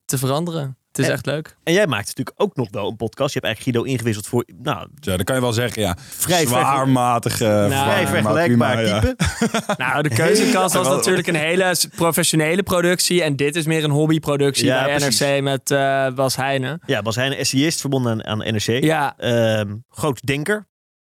[SPEAKER 1] te veranderen. Het is
[SPEAKER 4] En-
[SPEAKER 1] echt leuk.
[SPEAKER 4] En jij maakt natuurlijk ook nog wel een podcast. Je hebt eigenlijk Guido ingewisseld voor nou,
[SPEAKER 2] Ja, dan kan je wel zeggen, ja.
[SPEAKER 4] Vrij Nou,
[SPEAKER 2] zwaarmatig. eh,
[SPEAKER 4] vrij
[SPEAKER 2] verwarring, maar
[SPEAKER 4] vergelijkbaar
[SPEAKER 2] prima, ja.
[SPEAKER 4] type.
[SPEAKER 1] Nou, de keuzekast was
[SPEAKER 2] Ja.
[SPEAKER 1] natuurlijk een hele s- professionele productie. En dit is meer een hobbyproductie
[SPEAKER 4] Ja,
[SPEAKER 1] bij
[SPEAKER 4] precies.
[SPEAKER 1] NRC met eh Bas Heijnen.
[SPEAKER 4] Ja, was hij een essayist verbonden aan, aan NRC.
[SPEAKER 1] Ja,
[SPEAKER 4] Ehm, groot denker.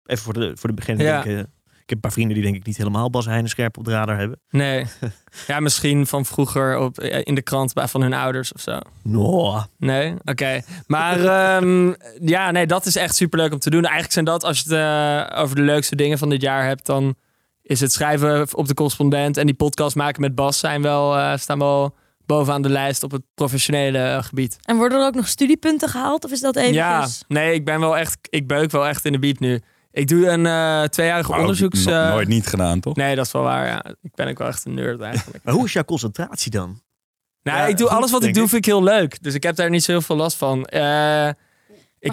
[SPEAKER 4] Even voor de, voor de beginnen.
[SPEAKER 1] Ja.
[SPEAKER 4] denk, eh, ik heb een paar vrienden die denk ik niet helemaal Bas Heijnen scherp op de radar hebben.
[SPEAKER 1] nee. Ja, misschien van vroeger op, eh, in de krant bij- van hun ouders of zo.
[SPEAKER 4] No.
[SPEAKER 1] Nee, oké. Maar ehm, ja, nee, dat is echt superleuk om te doen. Eigenlijk zijn dat, als je het eh, over de leukste dingen van dit jaar hebt, dan is het schrijven op de correspondent en die podcast maken met Bas zijn wel, eh, staan wel bovenaan de lijst op het professionele eh, gebied.
[SPEAKER 3] En worden er ook nog studiepunten gehaald? Of is dat even? dus.
[SPEAKER 1] Ja, nee, ik ben wel echt, ik beuk wel echt in de biep nu. Ik doe een eh, tweejarig
[SPEAKER 2] Maar ook
[SPEAKER 1] onderzoeks...
[SPEAKER 2] no-
[SPEAKER 1] eh,
[SPEAKER 2] Oh, nooit niet gedaan, toch?
[SPEAKER 1] Nee, dat is wel waar. Ja. Ik ben ook wel echt een nerd eigenlijk.
[SPEAKER 4] Maar hoe is jouw concentratie dan?
[SPEAKER 1] nou,
[SPEAKER 4] Ja,
[SPEAKER 1] ik doe
[SPEAKER 4] goed,
[SPEAKER 1] alles wat ik
[SPEAKER 4] denk
[SPEAKER 1] doe,
[SPEAKER 4] ik.
[SPEAKER 1] vind ik heel leuk. Dus ik heb daar niet zo heel veel last van. Eh,
[SPEAKER 3] Ik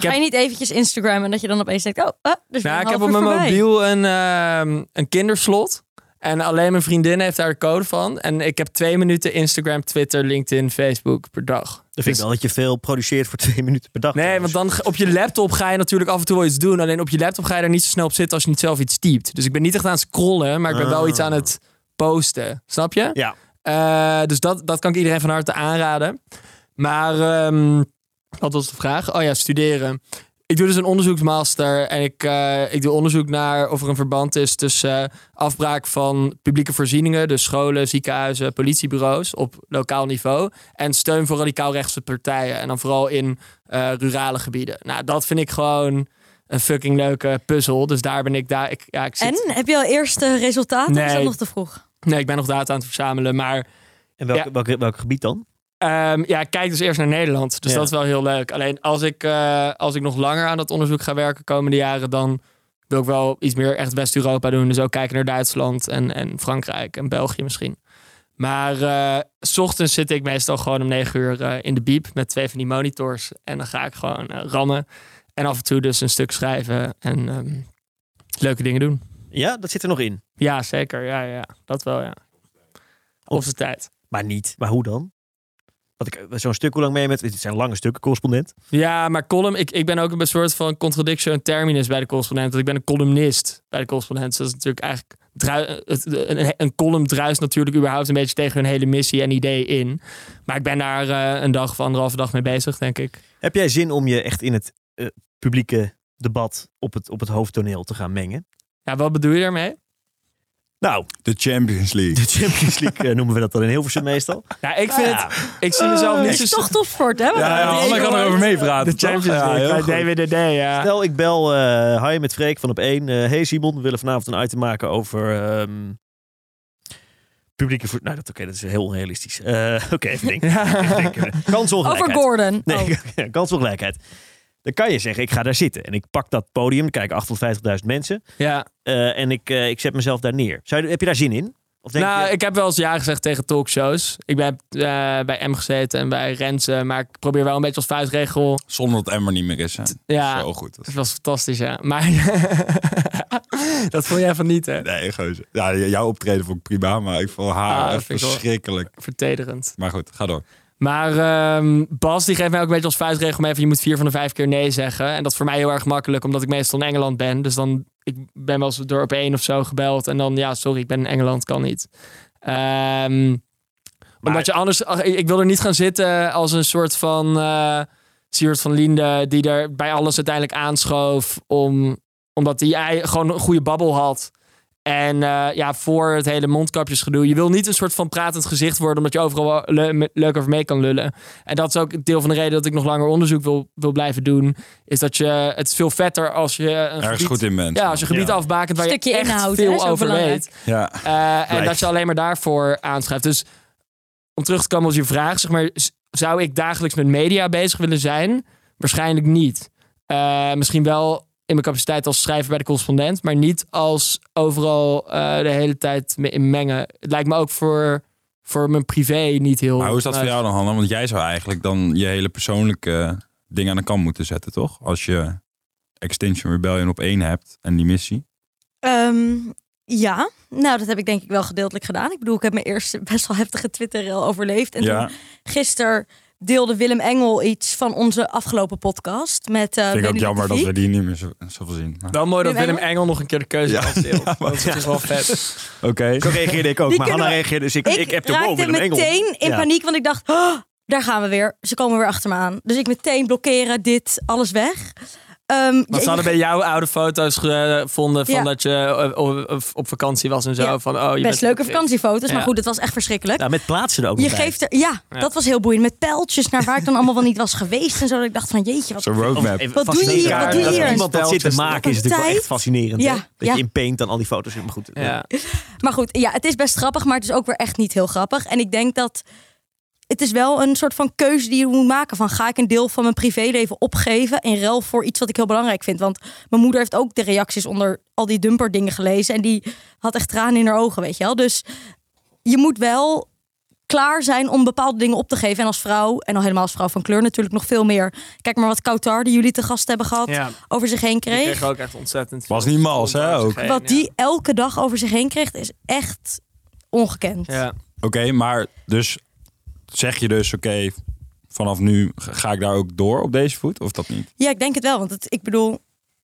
[SPEAKER 1] ik
[SPEAKER 3] Ga
[SPEAKER 1] heb
[SPEAKER 3] je niet eventjes Instagram en dat je dan opeens denkt, oh, ah, dus
[SPEAKER 1] Nou, ik heb op mijn mobiel een, ehm, een kinderslot. En alleen mijn vriendin heeft daar de code van. En ik heb twee minuten Instagram, Twitter, LinkedIn, Facebook per dag.
[SPEAKER 4] Dan vind ik wel dat je veel produceert voor twee minuten per dag.
[SPEAKER 1] Nee, want dan g- op je laptop ga je natuurlijk af en toe wel iets doen. Alleen op je laptop ga je er niet zo snel op zitten als je niet zelf iets typt. Dus ik ben niet echt aan het scrollen, maar ik ben wel
[SPEAKER 4] Ah.
[SPEAKER 1] iets aan het posten. Snap je?
[SPEAKER 4] Ja.
[SPEAKER 1] Eh, dus dat, dat kan ik iedereen van harte aanraden. Maar ehm, wat was de vraag? Oh ja, studeren. Ik doe dus een onderzoeksmaster en ik, eh, ik doe onderzoek naar of er een verband is tussen eh, afbraak van publieke voorzieningen, dus scholen, ziekenhuizen, politiebureaus op lokaal niveau en steun voor radicaal rechtse partijen en dan vooral in eh, rurale gebieden. Nou, dat vind ik gewoon een fucking leuke puzzel. Dus daar ben ik daar. Ik, ja, ik zit,
[SPEAKER 3] En heb je al eerste resultaten? Of is dat
[SPEAKER 1] Nee.
[SPEAKER 3] nog te vroeg?
[SPEAKER 1] Nee, ik ben nog data aan het verzamelen, maar
[SPEAKER 4] En welk,
[SPEAKER 1] Ja.
[SPEAKER 4] welk, welk gebied dan?
[SPEAKER 1] Ehm, ja, ik kijk dus eerst naar Nederland. Dus
[SPEAKER 4] Ja.
[SPEAKER 1] dat is wel heel leuk. Alleen als ik, eh, als ik nog langer aan dat onderzoek ga werken komende jaren, dan wil ik wel iets meer echt West-Europa doen. Dus ook kijken naar Duitsland en, en Frankrijk en België misschien. Maar eh, s ochtends zit ik meestal gewoon om negen uur eh, in de biep met twee van die monitors. En dan ga ik gewoon eh, rammen. En af en toe dus een stuk schrijven en ehm, leuke dingen doen.
[SPEAKER 4] Ja, dat zit er nog in.
[SPEAKER 1] Ja, zeker. Ja, ja, dat wel, ja. Op zijn tijd.
[SPEAKER 4] Maar niet. Maar hoe dan? Want ik eh, zo'n stuk, hoe lang ben je met? Het zijn lange stukken, correspondent.
[SPEAKER 1] Ja, maar column, ik, ik ben ook een soort van contradiction terminus bij de correspondent. Want ik ben een columnist bij de correspondent. Dus dat is natuurlijk eigenlijk. drui- het, een, een column druist natuurlijk überhaupt een beetje tegen hun hele missie en idee in. Maar ik ben daar eh, een dag of anderhalve dag mee bezig, denk ik.
[SPEAKER 4] Heb jij zin om je echt in het eh, publieke debat op het, op het hoofdtoneel te gaan mengen?
[SPEAKER 1] Ja, wat bedoel je daarmee?
[SPEAKER 4] Nou,
[SPEAKER 2] De Champions
[SPEAKER 4] de
[SPEAKER 2] League.
[SPEAKER 4] Champions League eh, noemen we dat dan in Hilversum meestal.
[SPEAKER 1] Nou, ik vind
[SPEAKER 4] Ah
[SPEAKER 1] het. Ik zie mezelf niet
[SPEAKER 3] Het
[SPEAKER 1] zo. Ah,
[SPEAKER 3] is Ah, toch topsport, hè?
[SPEAKER 2] Ja, ja, Anne kan erover meepraten.
[SPEAKER 1] De
[SPEAKER 2] toch?
[SPEAKER 1] Champions
[SPEAKER 2] Ja,
[SPEAKER 1] League,
[SPEAKER 2] heel
[SPEAKER 1] bij
[SPEAKER 2] goed.
[SPEAKER 1] DWDD, ja.
[SPEAKER 4] Stel, ik bel eh hi met Freek van op 1. hey Simon, we willen vanavond een item maken over ehm, publieke... ver- Nou, dat, oké, dat is heel realistisch. Eh, oké, even denken. Even
[SPEAKER 1] ja.
[SPEAKER 4] denken. Kansongelijkheid.
[SPEAKER 3] Over Gordon.
[SPEAKER 4] Nee,
[SPEAKER 3] Oh.
[SPEAKER 4] kansongelijkheid. Dan kan je zeggen, ik ga daar zitten. En ik pak dat podium, kijken 850.000 mensen.
[SPEAKER 1] ja.
[SPEAKER 4] eh, en ik, eh, ik zet mezelf daar neer. Zou je, heb je daar zin in? Of denk
[SPEAKER 1] nou,
[SPEAKER 4] je,
[SPEAKER 1] ik heb wel eens ja gezegd tegen talkshows. Ik ben eh, bij M gezeten en bij Rensen. Maar ik probeer wel een beetje als vuistregel.
[SPEAKER 2] Zonder dat Emmer niet meer is. Hè.
[SPEAKER 1] Ja,
[SPEAKER 2] Zo goed. Dat
[SPEAKER 1] Het was fantastisch, ja. Maar dat vond jij van niet, hè?
[SPEAKER 2] Nee, geuze. Ja, jouw optreden vond ik prima, maar ik vond haar
[SPEAKER 1] Ah, dat
[SPEAKER 2] echt
[SPEAKER 1] vind ik wel-
[SPEAKER 2] verschrikkelijk.
[SPEAKER 1] Vertederend.
[SPEAKER 2] Maar goed, ga door.
[SPEAKER 1] Maar ehm, Bas, die geeft mij ook een beetje als vuistregel mee van je moet vier van de vijf keer nee zeggen. En dat is voor mij heel erg makkelijk, omdat ik meestal in Engeland ben. Dus dan, ik ben wel eens door op één of zo gebeld. En dan, ja, sorry, ik ben in Engeland, kan niet. Ehm, Omdat je anders, ach, ik ik wil er niet gaan zitten als een soort van eh Siewert van Linde, die er bij alles uiteindelijk aanschoof, om, omdat hij ei- gewoon een goede babbel had. En eh, ja, voor het hele mondkapjesgedoe. Je wil niet een soort van pratend gezicht worden, omdat je overal wel le- me- leuk over mee kan lullen. En dat is ook een deel van de reden dat ik nog langer onderzoek wil, wil blijven doen. Is dat je, het is veel vetter als je een
[SPEAKER 2] Ergens
[SPEAKER 1] gebied,
[SPEAKER 2] goed in bent.
[SPEAKER 1] ja, als je gebied
[SPEAKER 4] Ja.
[SPEAKER 1] afbakent waar
[SPEAKER 3] Stukje
[SPEAKER 1] je echt
[SPEAKER 3] inhoud, hè,
[SPEAKER 1] veel
[SPEAKER 3] zo
[SPEAKER 1] over
[SPEAKER 3] belangrijk.
[SPEAKER 1] weet.
[SPEAKER 2] Ja.
[SPEAKER 1] Eh, en
[SPEAKER 4] Blijft.
[SPEAKER 1] dat je alleen maar daarvoor aanschrijft. Dus om terug te komen op je vraag, zeg maar, z- zou ik dagelijks met media bezig willen zijn? Waarschijnlijk niet. Eh, misschien wel in mijn capaciteit als schrijver bij de correspondent, maar niet als overal eh, de hele tijd me in mengen. Het lijkt me ook voor voor mijn privé niet heel...
[SPEAKER 2] Maar hoe is dat voor
[SPEAKER 1] nou,
[SPEAKER 2] jou dan, Hanna? Want jij zou eigenlijk dan je hele persoonlijke ding aan de kant moeten zetten, toch? Als je Extinction Rebellion op één hebt en die missie.
[SPEAKER 3] Ehm, ja, nou dat heb ik denk ik wel gedeeltelijk gedaan. Ik bedoel, ik heb mijn eerste best wel heftige Twitter al overleefd. En
[SPEAKER 2] ja,
[SPEAKER 3] toen gisteren deelde Willem Engel iets van onze afgelopen podcast. Met, eh
[SPEAKER 2] vind ik ook
[SPEAKER 3] Benny
[SPEAKER 2] jammer dat
[SPEAKER 3] Levy.
[SPEAKER 2] we die niet meer zo- zoveel zien. Maar-
[SPEAKER 1] Wel mooi dat
[SPEAKER 3] Willem
[SPEAKER 1] Willem Engel nog een keer de keuze
[SPEAKER 2] Ja.
[SPEAKER 1] had. Sil. dat is dat is wel vet.
[SPEAKER 2] Oké.
[SPEAKER 4] Zo reageerde ik ook,
[SPEAKER 3] Die
[SPEAKER 4] maar
[SPEAKER 3] kunnen
[SPEAKER 4] Hanna
[SPEAKER 3] we-
[SPEAKER 4] reageerde dus ik,
[SPEAKER 3] Ik,
[SPEAKER 4] ik heb de wow,
[SPEAKER 3] raakte
[SPEAKER 4] Willem Engel.
[SPEAKER 3] meteen in
[SPEAKER 4] Ja.
[SPEAKER 3] paniek, want ik dacht, "Oh, daar gaan we weer. Ze komen weer achter me aan. Dus ik meteen blokkeren, dit, alles weg. Ehm,
[SPEAKER 1] Want ze
[SPEAKER 3] ja,
[SPEAKER 1] hadden bij jou oude foto's gevonden van
[SPEAKER 3] Ja.
[SPEAKER 1] dat je eh, op, op- op vakantie was en zo.
[SPEAKER 3] Ja.
[SPEAKER 1] Van, oh, je
[SPEAKER 3] best
[SPEAKER 1] bent-
[SPEAKER 3] leuke vakantiefoto's, maar
[SPEAKER 1] Ja.
[SPEAKER 3] goed, het was echt verschrikkelijk.
[SPEAKER 4] Nou, met plaatsen er ook
[SPEAKER 3] Je
[SPEAKER 4] nog bij.
[SPEAKER 3] geeft er, ja,
[SPEAKER 1] Ja.
[SPEAKER 3] dat was heel boeiend. Met pijltjes naar waar ik dan allemaal wel niet was geweest. En zo dat ik dacht van jeetje, wat
[SPEAKER 2] Zo'n
[SPEAKER 4] Of
[SPEAKER 2] roadmap.
[SPEAKER 4] even
[SPEAKER 3] Wat doe je
[SPEAKER 4] fascinerend.
[SPEAKER 3] hier? Wat doe je
[SPEAKER 4] Dat
[SPEAKER 3] hier?
[SPEAKER 4] iemand dat zit te maken is natuurlijk wel
[SPEAKER 3] Tijd.
[SPEAKER 4] echt fascinerend. hè?
[SPEAKER 3] Ja,
[SPEAKER 4] Dat
[SPEAKER 3] ja.
[SPEAKER 4] je in paint dan al die foto's... Maar goed,
[SPEAKER 1] Ja.
[SPEAKER 3] Maar goed, ja, het is best grappig, maar het is ook weer echt niet heel grappig. En ik denk dat het is wel een soort van keuze die je moet maken van ga ik een deel van mijn privéleven opgeven in ruil voor iets wat ik heel belangrijk vind. Want mijn moeder heeft ook de reacties onder al die dumper dingen gelezen en die had echt tranen in haar ogen, weet je wel. Dus je moet wel klaar zijn om bepaalde dingen op te geven. En als vrouw, en al helemaal als vrouw van kleur natuurlijk nog veel meer. Kijk maar wat Kautar, die jullie te gast hebben gehad,
[SPEAKER 1] Ja.
[SPEAKER 3] over zich heen
[SPEAKER 1] Ik
[SPEAKER 3] kreeg.
[SPEAKER 1] kreeg ook echt ontzettend
[SPEAKER 2] Was
[SPEAKER 1] veel
[SPEAKER 2] niet mals, hè,
[SPEAKER 1] over zich
[SPEAKER 2] ook.
[SPEAKER 1] heen,
[SPEAKER 3] Wat
[SPEAKER 1] ja.
[SPEAKER 3] die elke dag over zich heen kreeg, is echt ongekend.
[SPEAKER 1] Ja.
[SPEAKER 2] Oké, maar dus zeg je dus, oké, vanaf nu ga ga ik daar ook door op deze voet? Of dat niet?
[SPEAKER 3] Ja, ik denk het wel. Want het, ik bedoel,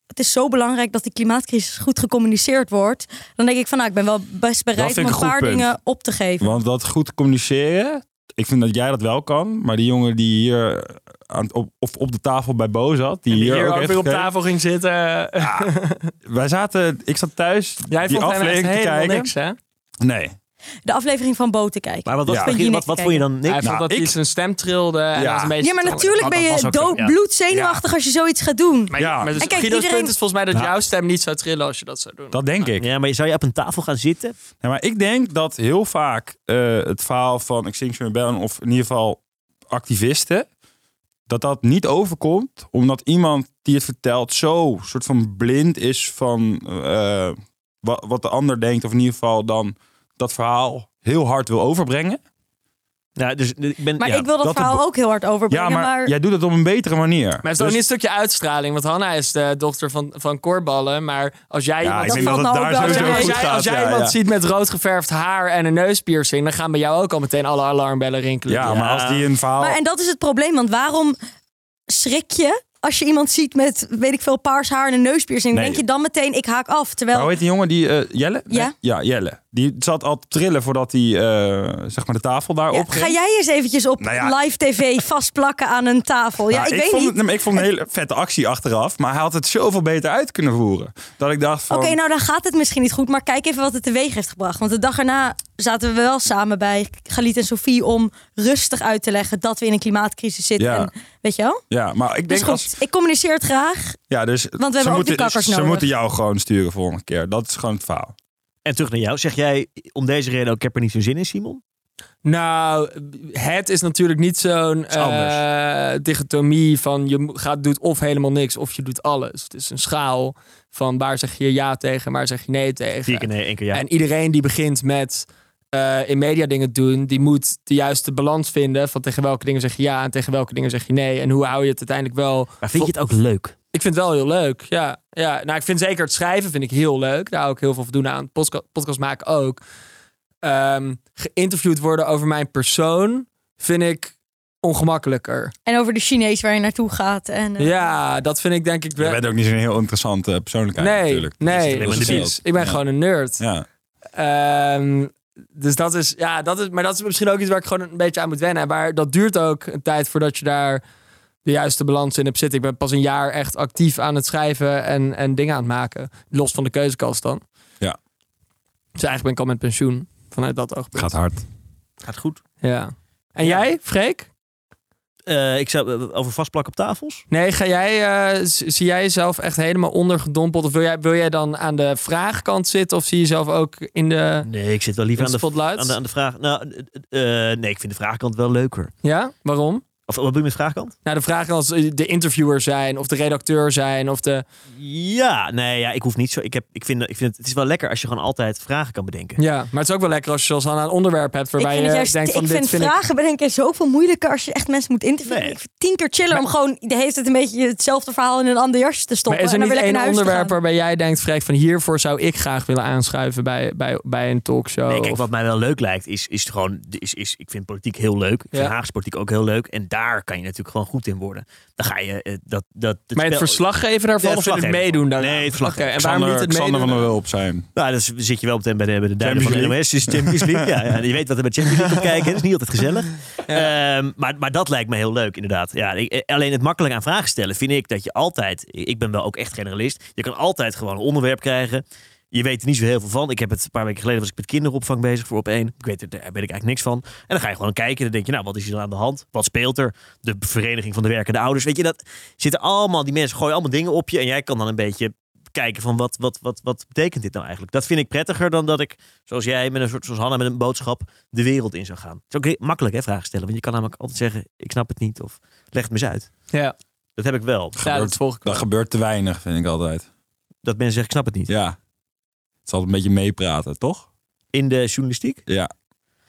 [SPEAKER 3] het is zo belangrijk dat die klimaatcrisis goed gecommuniceerd wordt. Dan denk ik van, nou, ik ben wel best bereid
[SPEAKER 2] vind
[SPEAKER 3] om
[SPEAKER 2] ik
[SPEAKER 3] een
[SPEAKER 2] een goed
[SPEAKER 3] paar
[SPEAKER 2] punt.
[SPEAKER 3] dingen op te geven.
[SPEAKER 2] Want dat goed communiceren, ik vind dat jij dat wel kan. Maar die jongen die hier aan, het- op, of op de tafel bij Bo zat, die,
[SPEAKER 1] Die
[SPEAKER 2] hier,
[SPEAKER 1] hier ook
[SPEAKER 2] heeft
[SPEAKER 1] weer op
[SPEAKER 2] gekeken.
[SPEAKER 1] tafel ging zitten.
[SPEAKER 2] Wij zaten, ik zat thuis
[SPEAKER 1] Jij
[SPEAKER 2] die
[SPEAKER 1] vond hem echt
[SPEAKER 2] aflevering te
[SPEAKER 1] helemaal
[SPEAKER 2] kijken.
[SPEAKER 1] niks, hè?
[SPEAKER 2] Nee,
[SPEAKER 3] De aflevering van Boten kijken.
[SPEAKER 4] Maar wat, was
[SPEAKER 2] Ja.
[SPEAKER 4] het begin? wat, wat vond je dan
[SPEAKER 1] Hij
[SPEAKER 4] niks?
[SPEAKER 1] vond dat
[SPEAKER 2] ik-
[SPEAKER 1] hij zijn stem trilde. en
[SPEAKER 2] Ja.
[SPEAKER 1] was een beetje
[SPEAKER 3] nou, ja, maar
[SPEAKER 1] te-
[SPEAKER 3] natuurlijk ben
[SPEAKER 4] dat
[SPEAKER 3] je
[SPEAKER 4] was ook zo,
[SPEAKER 3] dood
[SPEAKER 4] ja.
[SPEAKER 3] bloedzenuwachtig als je zoiets gaat doen.
[SPEAKER 1] Maar,
[SPEAKER 2] Ja.
[SPEAKER 1] ja. maar dus,
[SPEAKER 3] En kijk,
[SPEAKER 1] Guido's
[SPEAKER 3] iedereen-
[SPEAKER 1] punt is volgens mij dat
[SPEAKER 2] Ja.
[SPEAKER 1] jouw stem niet zou trillen als je dat zou doen.
[SPEAKER 2] dat denk ik.
[SPEAKER 4] Ja, maar zou je op een tafel gaan zitten?
[SPEAKER 2] Ja, maar ik denk dat heel vaak eh, het verhaal van Extinction Rebellion... of in ieder geval activisten... dat dat niet overkomt... omdat iemand die het vertelt zo soort van blind is van... eh, wat, wat de ander denkt... of in ieder geval dan dat verhaal heel hard wil overbrengen.
[SPEAKER 4] Nou, dus, eh, ik ben,
[SPEAKER 3] Maar
[SPEAKER 4] ja,
[SPEAKER 3] ik wil dat,
[SPEAKER 2] dat de
[SPEAKER 3] verhaal
[SPEAKER 2] bo-
[SPEAKER 3] ook heel hard overbrengen.
[SPEAKER 2] Ja, maar, jij doet het op een betere manier.
[SPEAKER 1] Maar het is
[SPEAKER 2] Dus-
[SPEAKER 1] ook niet een stukje uitstraling. Want Hanna is de dochter van, van Korballen. Maar als jij
[SPEAKER 2] Ja,
[SPEAKER 1] iemand
[SPEAKER 2] ik
[SPEAKER 3] dat
[SPEAKER 2] denk dat
[SPEAKER 3] valt
[SPEAKER 2] het daar
[SPEAKER 3] nou ook wel
[SPEAKER 1] Als jij,
[SPEAKER 2] sowieso
[SPEAKER 1] als jij,
[SPEAKER 2] goed
[SPEAKER 3] mee.
[SPEAKER 2] gaat.
[SPEAKER 1] als jij
[SPEAKER 2] ja,
[SPEAKER 1] iemand
[SPEAKER 2] ja.
[SPEAKER 1] ziet met rood geverfd haar en een neuspiercing, dan gaan bij jou ook al meteen alle alarmbellen rinkelen.
[SPEAKER 2] Ja, maar als die een verhaal...
[SPEAKER 3] Maar en dat is het probleem, want waarom schrik je als je iemand ziet met, weet ik veel, paars haar en een neuspiercing?
[SPEAKER 2] Nee.
[SPEAKER 3] Denk je dan meteen, ik haak af.
[SPEAKER 2] Maar
[SPEAKER 3] Terwijl,
[SPEAKER 2] hoe heet die jongen? Die, eh, Jelle?
[SPEAKER 3] Ja.
[SPEAKER 2] Nee? Ja, Jelle. Die zat al te trillen voordat hij eh, zeg maar de tafel daar
[SPEAKER 3] Ja,
[SPEAKER 2] op ging.
[SPEAKER 3] ga jij eens eventjes op
[SPEAKER 2] Nou ja.
[SPEAKER 3] live tv vastplakken aan een tafel? oh Ja,
[SPEAKER 2] Nou,
[SPEAKER 3] ik, weet
[SPEAKER 2] vond,
[SPEAKER 3] niet.
[SPEAKER 2] het- nee, ik vond een hele vette actie achteraf. Maar hij had het zoveel beter uit kunnen voeren. Dat ik dacht van...
[SPEAKER 3] Oké, nou dan gaat het misschien niet goed, maar kijk even wat het teweeg heeft gebracht. Want de dag erna zaten we wel samen bij Galit en Sofie om rustig uit te leggen dat we in een klimaatcrisis zitten.
[SPEAKER 2] Ja.
[SPEAKER 3] En, weet je wel?
[SPEAKER 2] Ja, maar ik
[SPEAKER 3] Dus
[SPEAKER 2] denk
[SPEAKER 3] goed,
[SPEAKER 2] als...
[SPEAKER 3] ik communiceer het graag.
[SPEAKER 2] Ja, dus
[SPEAKER 3] hebben ook
[SPEAKER 2] ze,
[SPEAKER 3] die
[SPEAKER 2] moeten,
[SPEAKER 3] kakkers
[SPEAKER 2] ze
[SPEAKER 3] nodig.
[SPEAKER 2] moeten jou gewoon sturen volgende keer. Dat is gewoon het verhaal.
[SPEAKER 4] En terug naar jou. Zeg jij om deze reden ook, ik heb er niet zo'n zin in, Simon?
[SPEAKER 1] Nou, het is natuurlijk niet zo'n
[SPEAKER 2] is anders.
[SPEAKER 1] eh, dichotomie van je mo- gaat, doet of helemaal niks of je doet alles. Het is een schaal van waar zeg je ja tegen en waar zeg je nee tegen.
[SPEAKER 4] Vier keer nee, één keer ja.
[SPEAKER 1] En iedereen die begint met eh, in media dingen doen, die moet de juiste balans vinden van tegen welke dingen zeg je ja en tegen welke dingen zeg je nee. En hoe hou je het uiteindelijk wel
[SPEAKER 4] maar vind je het ook leuk?
[SPEAKER 1] Ik vind het wel heel leuk. Ja, ja. Nou, ik vind zeker het schrijven vind ik heel leuk. Daar hou ik heel veel van doen aan. Podca- podcast maken ook. Ehm, geïnterviewd worden over mijn persoon vind ik ongemakkelijker.
[SPEAKER 3] En over de Chinees waar je naartoe gaat. En, eh,
[SPEAKER 1] Ja, dat vind ik denk ik
[SPEAKER 2] Je
[SPEAKER 1] wel.
[SPEAKER 2] bent ook niet zo'n heel interessante persoonlijkheid
[SPEAKER 1] Nee,
[SPEAKER 2] natuurlijk. Dat is
[SPEAKER 1] nee,
[SPEAKER 2] alleen maar de
[SPEAKER 1] precies.
[SPEAKER 2] wereld.
[SPEAKER 1] Ik ben
[SPEAKER 2] Ja.
[SPEAKER 1] gewoon een nerd.
[SPEAKER 2] Ja.
[SPEAKER 1] Ehm, dus dat is, ja, dat is, maar dat is misschien ook iets waar ik gewoon een beetje aan moet wennen. Maar dat duurt ook een tijd voordat je daar de juiste balans in hebt zitten. Ik ben pas een jaar echt actief aan het schrijven en, en dingen aan het maken. Los van de keuzekast dan.
[SPEAKER 2] Ja.
[SPEAKER 1] Dus eigenlijk ben ik al met pensioen vanuit dat oogpunt.
[SPEAKER 2] Gaat hard.
[SPEAKER 4] Gaat goed.
[SPEAKER 1] Ja. En
[SPEAKER 4] Ja.
[SPEAKER 1] jij, Freek?
[SPEAKER 4] Eh, ik zou eh, over vastplakken op tafels.
[SPEAKER 1] Nee, ga jij, eh, z- zie jij jezelf echt helemaal ondergedompeld? Of wil jij, wil jij dan aan de vraagkant zitten? Of zie je jezelf ook in de,
[SPEAKER 4] Nee, ik zit wel
[SPEAKER 1] in
[SPEAKER 4] liever
[SPEAKER 1] de
[SPEAKER 4] aan de,
[SPEAKER 1] spotlight?
[SPEAKER 4] eh, aan de, aan de vraag. Nou, eh, eh, nee, ik vind de vraagkant wel leuker.
[SPEAKER 1] Ja? Waarom?
[SPEAKER 4] Of wat bedoel je met vraagkant?
[SPEAKER 1] Nou, de vraag was eh, de interviewer zijn of de redacteur zijn of de...
[SPEAKER 4] Ja, nee, ja, ik hoef niet zo. Ik, heb, ik, vind, ik vind het, het is wel lekker als je gewoon altijd vragen kan bedenken.
[SPEAKER 1] Ja, maar het is ook wel lekker als je zoals Hanna een onderwerp hebt
[SPEAKER 3] Ik
[SPEAKER 1] waarbij
[SPEAKER 3] vind het
[SPEAKER 1] je
[SPEAKER 3] juist,
[SPEAKER 1] denkt van
[SPEAKER 3] ik
[SPEAKER 1] dit
[SPEAKER 3] vind
[SPEAKER 1] vind
[SPEAKER 3] vragen bedenken zoveel moeilijker als je echt mensen moet interviewen.
[SPEAKER 4] Nee.
[SPEAKER 3] Ik vind tien keer chiller om gewoon de hele tijd een beetje hetzelfde verhaal in een ander jasje te
[SPEAKER 1] ik... Maar
[SPEAKER 3] stoppen.
[SPEAKER 1] is er
[SPEAKER 3] en dan
[SPEAKER 1] niet
[SPEAKER 3] weer
[SPEAKER 1] één
[SPEAKER 3] lekker naar huis te
[SPEAKER 1] onderwerp
[SPEAKER 3] gaan.
[SPEAKER 1] waarbij jij denkt, Freek, van hiervoor zou ik graag willen aanschuiven bij, bij, bij een talkshow?
[SPEAKER 4] Nee, kijk,
[SPEAKER 1] of-
[SPEAKER 4] wat mij wel leuk lijkt, is, is gewoon. Is, is, ik vind politiek heel leuk. Ik vind
[SPEAKER 1] Ja.
[SPEAKER 4] Haagse politiek ook heel leuk. En daar kan je natuurlijk gewoon goed in worden. Dan ga je eh, dat. dat het
[SPEAKER 1] maar het
[SPEAKER 4] spel-
[SPEAKER 1] verslag geven daarvan
[SPEAKER 4] Ja,
[SPEAKER 1] of in het
[SPEAKER 4] verslaggeven.
[SPEAKER 1] meedoen daarna?
[SPEAKER 4] Nee, het verslaggeven.
[SPEAKER 1] Oké, en waarom niet het
[SPEAKER 2] Xander
[SPEAKER 1] meedoen?
[SPEAKER 2] van der Wulp zijn.
[SPEAKER 4] Nou, dan zit je wel meteen bij de, bij de duinen van
[SPEAKER 2] Champions
[SPEAKER 4] de NOS. is Champions League. ja, ja, je weet wat er bij Champions League op kijken. Dat is niet altijd gezellig. Ehm, maar, maar dat lijkt me heel leuk, inderdaad. Ja, ik- eh, alleen het makkelijk aan vragen stellen vind ik dat je altijd... Ik ben wel ook echt generalist. Je kan altijd gewoon een onderwerp krijgen. Je weet er niet zo heel veel van. Ik heb het een paar weken geleden was ik met kinderopvang bezig voor op één. Ik weet er, daar weet ik eigenlijk niks van. En dan ga je gewoon kijken. Dan denk je, nou, wat is hier dan aan de hand? Wat speelt er? De vereniging van de werkende ouders. Weet je, dat zitten allemaal, die mensen gooien allemaal dingen op je. En jij kan dan een beetje kijken van wat, wat, wat, wat betekent dit nou eigenlijk? Dat vind ik prettiger dan dat ik, zoals jij, met een soort, zoals Hanna, met een boodschap de wereld in zou gaan. Het is ook heel makkelijk hè, vragen stellen, want je kan namelijk altijd zeggen, ik snap het niet of leg het me eens uit.
[SPEAKER 1] Ja,
[SPEAKER 4] Dat heb ik wel.
[SPEAKER 1] ja, dat
[SPEAKER 2] Gebeurt-
[SPEAKER 1] volg ik wel.
[SPEAKER 2] Dat gebeurt te weinig, vind ik altijd.
[SPEAKER 4] Dat mensen zeggen, ik snap het niet.
[SPEAKER 2] Ja. Het is altijd een beetje meepraten, toch?
[SPEAKER 4] In de journalistiek?
[SPEAKER 2] Ja.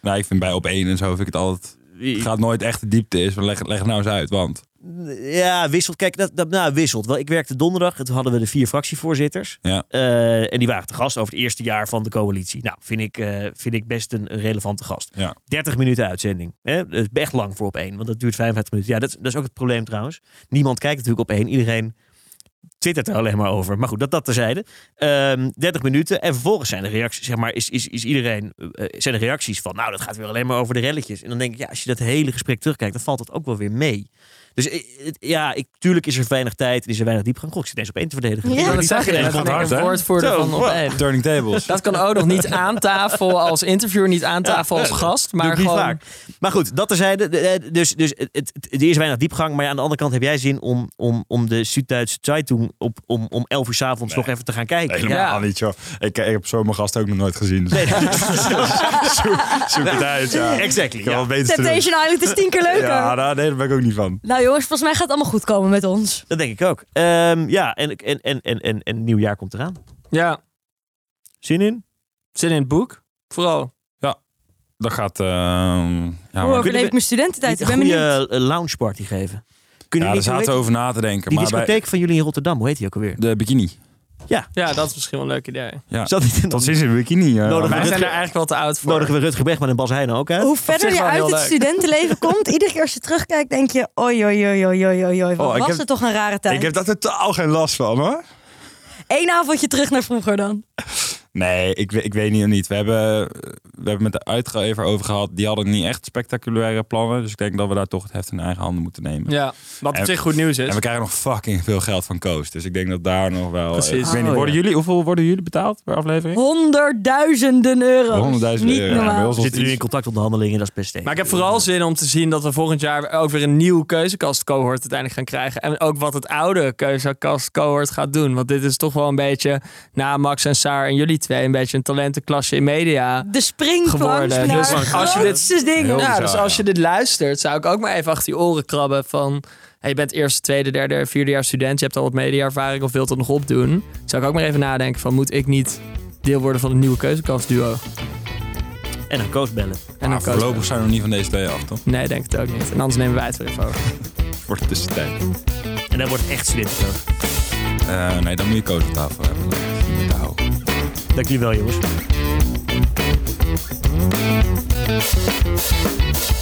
[SPEAKER 2] Nou, ik vind bij op één en zo vind ik het altijd... Het gaat nooit echt de diepte is, maar leg, leg het nou eens uit, want...
[SPEAKER 4] Ja, wisselt. Kijk, dat, dat, nou, wisselt. Wel, ik werkte donderdag en toen hadden we de vier fractievoorzitters.
[SPEAKER 2] Ja.
[SPEAKER 4] Eh, en die waren te gast over het eerste jaar van de coalitie. Nou, vind ik, eh, vind ik best een, een relevante gast.
[SPEAKER 2] Ja.
[SPEAKER 4] 30 minuten uitzending. Hè? Dat is echt lang voor op één, want dat duurt 55 minuten. Ja, dat, is- dat is ook het probleem trouwens. Niemand kijkt natuurlijk op één. Iedereen twittert er alleen maar over. Maar goed, dat, dat terzijde. Ehm 30 minuten en vervolgens zijn de reacties, zeg maar, is, is, is iedereen, eh, zijn de reacties van, nou, dat gaat weer alleen maar over de relletjes. En dan denk ik, ja, als je dat hele gesprek terugkijkt, dan valt dat ook wel weer mee. Dus eh, het- ja, ik, tuurlijk is er weinig tijd en is er weinig diepgang. Goh, ik zit eens op één te
[SPEAKER 3] Ja.
[SPEAKER 4] verdedigen. Ik wil
[SPEAKER 1] Ja,
[SPEAKER 4] niet
[SPEAKER 1] dat zeg je
[SPEAKER 4] zeggen,
[SPEAKER 1] net.
[SPEAKER 4] nee,
[SPEAKER 2] komt
[SPEAKER 1] Ik
[SPEAKER 2] hard,
[SPEAKER 1] ben
[SPEAKER 2] hè?
[SPEAKER 1] woordvoerder
[SPEAKER 4] Zo,
[SPEAKER 1] van op
[SPEAKER 4] wow.
[SPEAKER 1] één.
[SPEAKER 2] Turning tables.
[SPEAKER 1] Dat kan ook nog niet aan tafel als interviewer, niet aan tafel als gast, maar
[SPEAKER 4] Doe ik niet
[SPEAKER 1] gewoon...
[SPEAKER 4] vaak. Maar goed, dat terzijde. De- de- Dus, dus het, het, het- er is weinig diepgang. Maar ja, aan de andere kant heb jij zin om, om, om de Süddeutsche Zeitung op, om, om 11 uur 's avonds nog even te gaan kijken.
[SPEAKER 2] Helemaal
[SPEAKER 1] Ja.
[SPEAKER 2] niet, joh. Ik, eh, ik heb zo mijn gast ook nog nooit gezien. Dus
[SPEAKER 4] Nee, dat
[SPEAKER 2] zoek het uit, ja.
[SPEAKER 4] exactly.
[SPEAKER 2] Ik heb
[SPEAKER 4] ja.
[SPEAKER 2] wat beter te doen.
[SPEAKER 3] Temptation Island is tien keer leuker.
[SPEAKER 2] Ja, nou, nee, daar ben ik ook niet van.
[SPEAKER 3] Nou jongens, volgens mij gaat het allemaal goed komen met ons.
[SPEAKER 4] Dat denk ik ook. Ehm, ja, en, en, en, en, en, en nieuwjaar komt eraan.
[SPEAKER 1] Ja,
[SPEAKER 4] Zin in?
[SPEAKER 1] zin in het boek, vooral.
[SPEAKER 2] Dat gaat... ehm, ja,
[SPEAKER 3] Hoe
[SPEAKER 2] maar,
[SPEAKER 3] overleef ik mijn studententijd? Ik
[SPEAKER 4] Niet
[SPEAKER 3] ben
[SPEAKER 4] een
[SPEAKER 3] benieuwd.
[SPEAKER 4] goede eh, loungeparty geven. Kunnen
[SPEAKER 2] ja,
[SPEAKER 4] jullie
[SPEAKER 2] daar zaten we over na te denken.
[SPEAKER 4] Die
[SPEAKER 2] maar bij
[SPEAKER 4] discotheek van jullie in Rotterdam, hoe heet die ook alweer?
[SPEAKER 2] de bikini.
[SPEAKER 1] Ja, dat is misschien wel een leuk idee.
[SPEAKER 2] Ja.
[SPEAKER 4] Zat niet in
[SPEAKER 2] Tot sinds een bikini. eh.
[SPEAKER 4] Nodig-
[SPEAKER 1] Wij
[SPEAKER 4] Rutger-
[SPEAKER 1] zijn er eigenlijk wel te oud voor.
[SPEAKER 4] Nodigen we Rutger Bregman en Bas Heijnen ook uit?
[SPEAKER 3] Hoe
[SPEAKER 1] zich
[SPEAKER 3] verder je
[SPEAKER 1] wel
[SPEAKER 3] uit
[SPEAKER 1] heel
[SPEAKER 3] het
[SPEAKER 1] leuk.
[SPEAKER 3] studentenleven komt, iedere keer als je terugkijkt, denk je: oi, oi, oi, oi, oi, oi, oi, wat
[SPEAKER 2] Oh, ik
[SPEAKER 3] was
[SPEAKER 2] heb-
[SPEAKER 3] het toch een rare tijd?
[SPEAKER 2] ik heb daar totaal geen last van, hoor.
[SPEAKER 3] Eén avondje terug naar vroeger dan.
[SPEAKER 2] Nee, ik, we- ik weet niet of niet. We hebben, we hebben met de uitgever over gehad. Die hadden niet echt spectaculaire plannen. Dus ik denk dat we daar toch het heft in eigen handen moeten nemen.
[SPEAKER 1] Ja, dus- wat op
[SPEAKER 2] En-
[SPEAKER 1] zich goed nieuws
[SPEAKER 2] En
[SPEAKER 1] is.
[SPEAKER 2] we krijgen nog fucking veel geld van Koos. Dus ik denk dat daar nog wel...
[SPEAKER 1] Precies.
[SPEAKER 2] Ik weet
[SPEAKER 4] Oh,
[SPEAKER 2] niet, worden
[SPEAKER 4] ja.
[SPEAKER 2] jullie, hoeveel worden jullie betaald per aflevering?
[SPEAKER 3] Honderdduizenden euro's.
[SPEAKER 2] 100.000
[SPEAKER 3] Niet
[SPEAKER 2] euro. Ja,
[SPEAKER 3] normaal.
[SPEAKER 2] bij ons
[SPEAKER 4] We zitten nu
[SPEAKER 2] iets.
[SPEAKER 4] in contractonderhandelingen, dat is best steek.
[SPEAKER 1] Maar ik heb vooral zin om te zien dat we volgend jaar ook weer een nieuwe keuzekastcohort uiteindelijk gaan krijgen. En ook wat het oude keuzekastcohort gaat doen. Want dit is toch wel een beetje, na Max en Saar en jullie twee, een beetje een talentenklasje in media.
[SPEAKER 3] de springplank
[SPEAKER 1] geworden.
[SPEAKER 3] naar
[SPEAKER 1] Heel
[SPEAKER 3] de
[SPEAKER 1] zwak. Als je dit-
[SPEAKER 3] grootste dingen.
[SPEAKER 2] Heel
[SPEAKER 1] Ja,
[SPEAKER 2] bizar,
[SPEAKER 1] dus als
[SPEAKER 2] ja.
[SPEAKER 1] je dit luistert, zou ik ook maar even achter je oren krabben van... hey, je bent eerste, tweede, derde, vierde jaar student. Je hebt al wat mediaervaring of wilt dat nog opdoen. Zou ik ook maar even nadenken van, moet ik niet deel worden van het nieuwe keuzekastduo?
[SPEAKER 4] En een coach bellen.
[SPEAKER 1] En
[SPEAKER 2] Maar
[SPEAKER 1] dan koos-
[SPEAKER 2] voorlopig zijn we nog niet van deze twee af, toch?
[SPEAKER 1] Nee, denk het ook niet. En anders nemen wij het weer even over.
[SPEAKER 2] Voor de tussentijd.
[SPEAKER 4] En dan wordt het echt studenten.
[SPEAKER 2] Eh, nee, dan moet je Koos op tafel hebben. Dat moet je houden.
[SPEAKER 4] Dank jullie wel, jongens.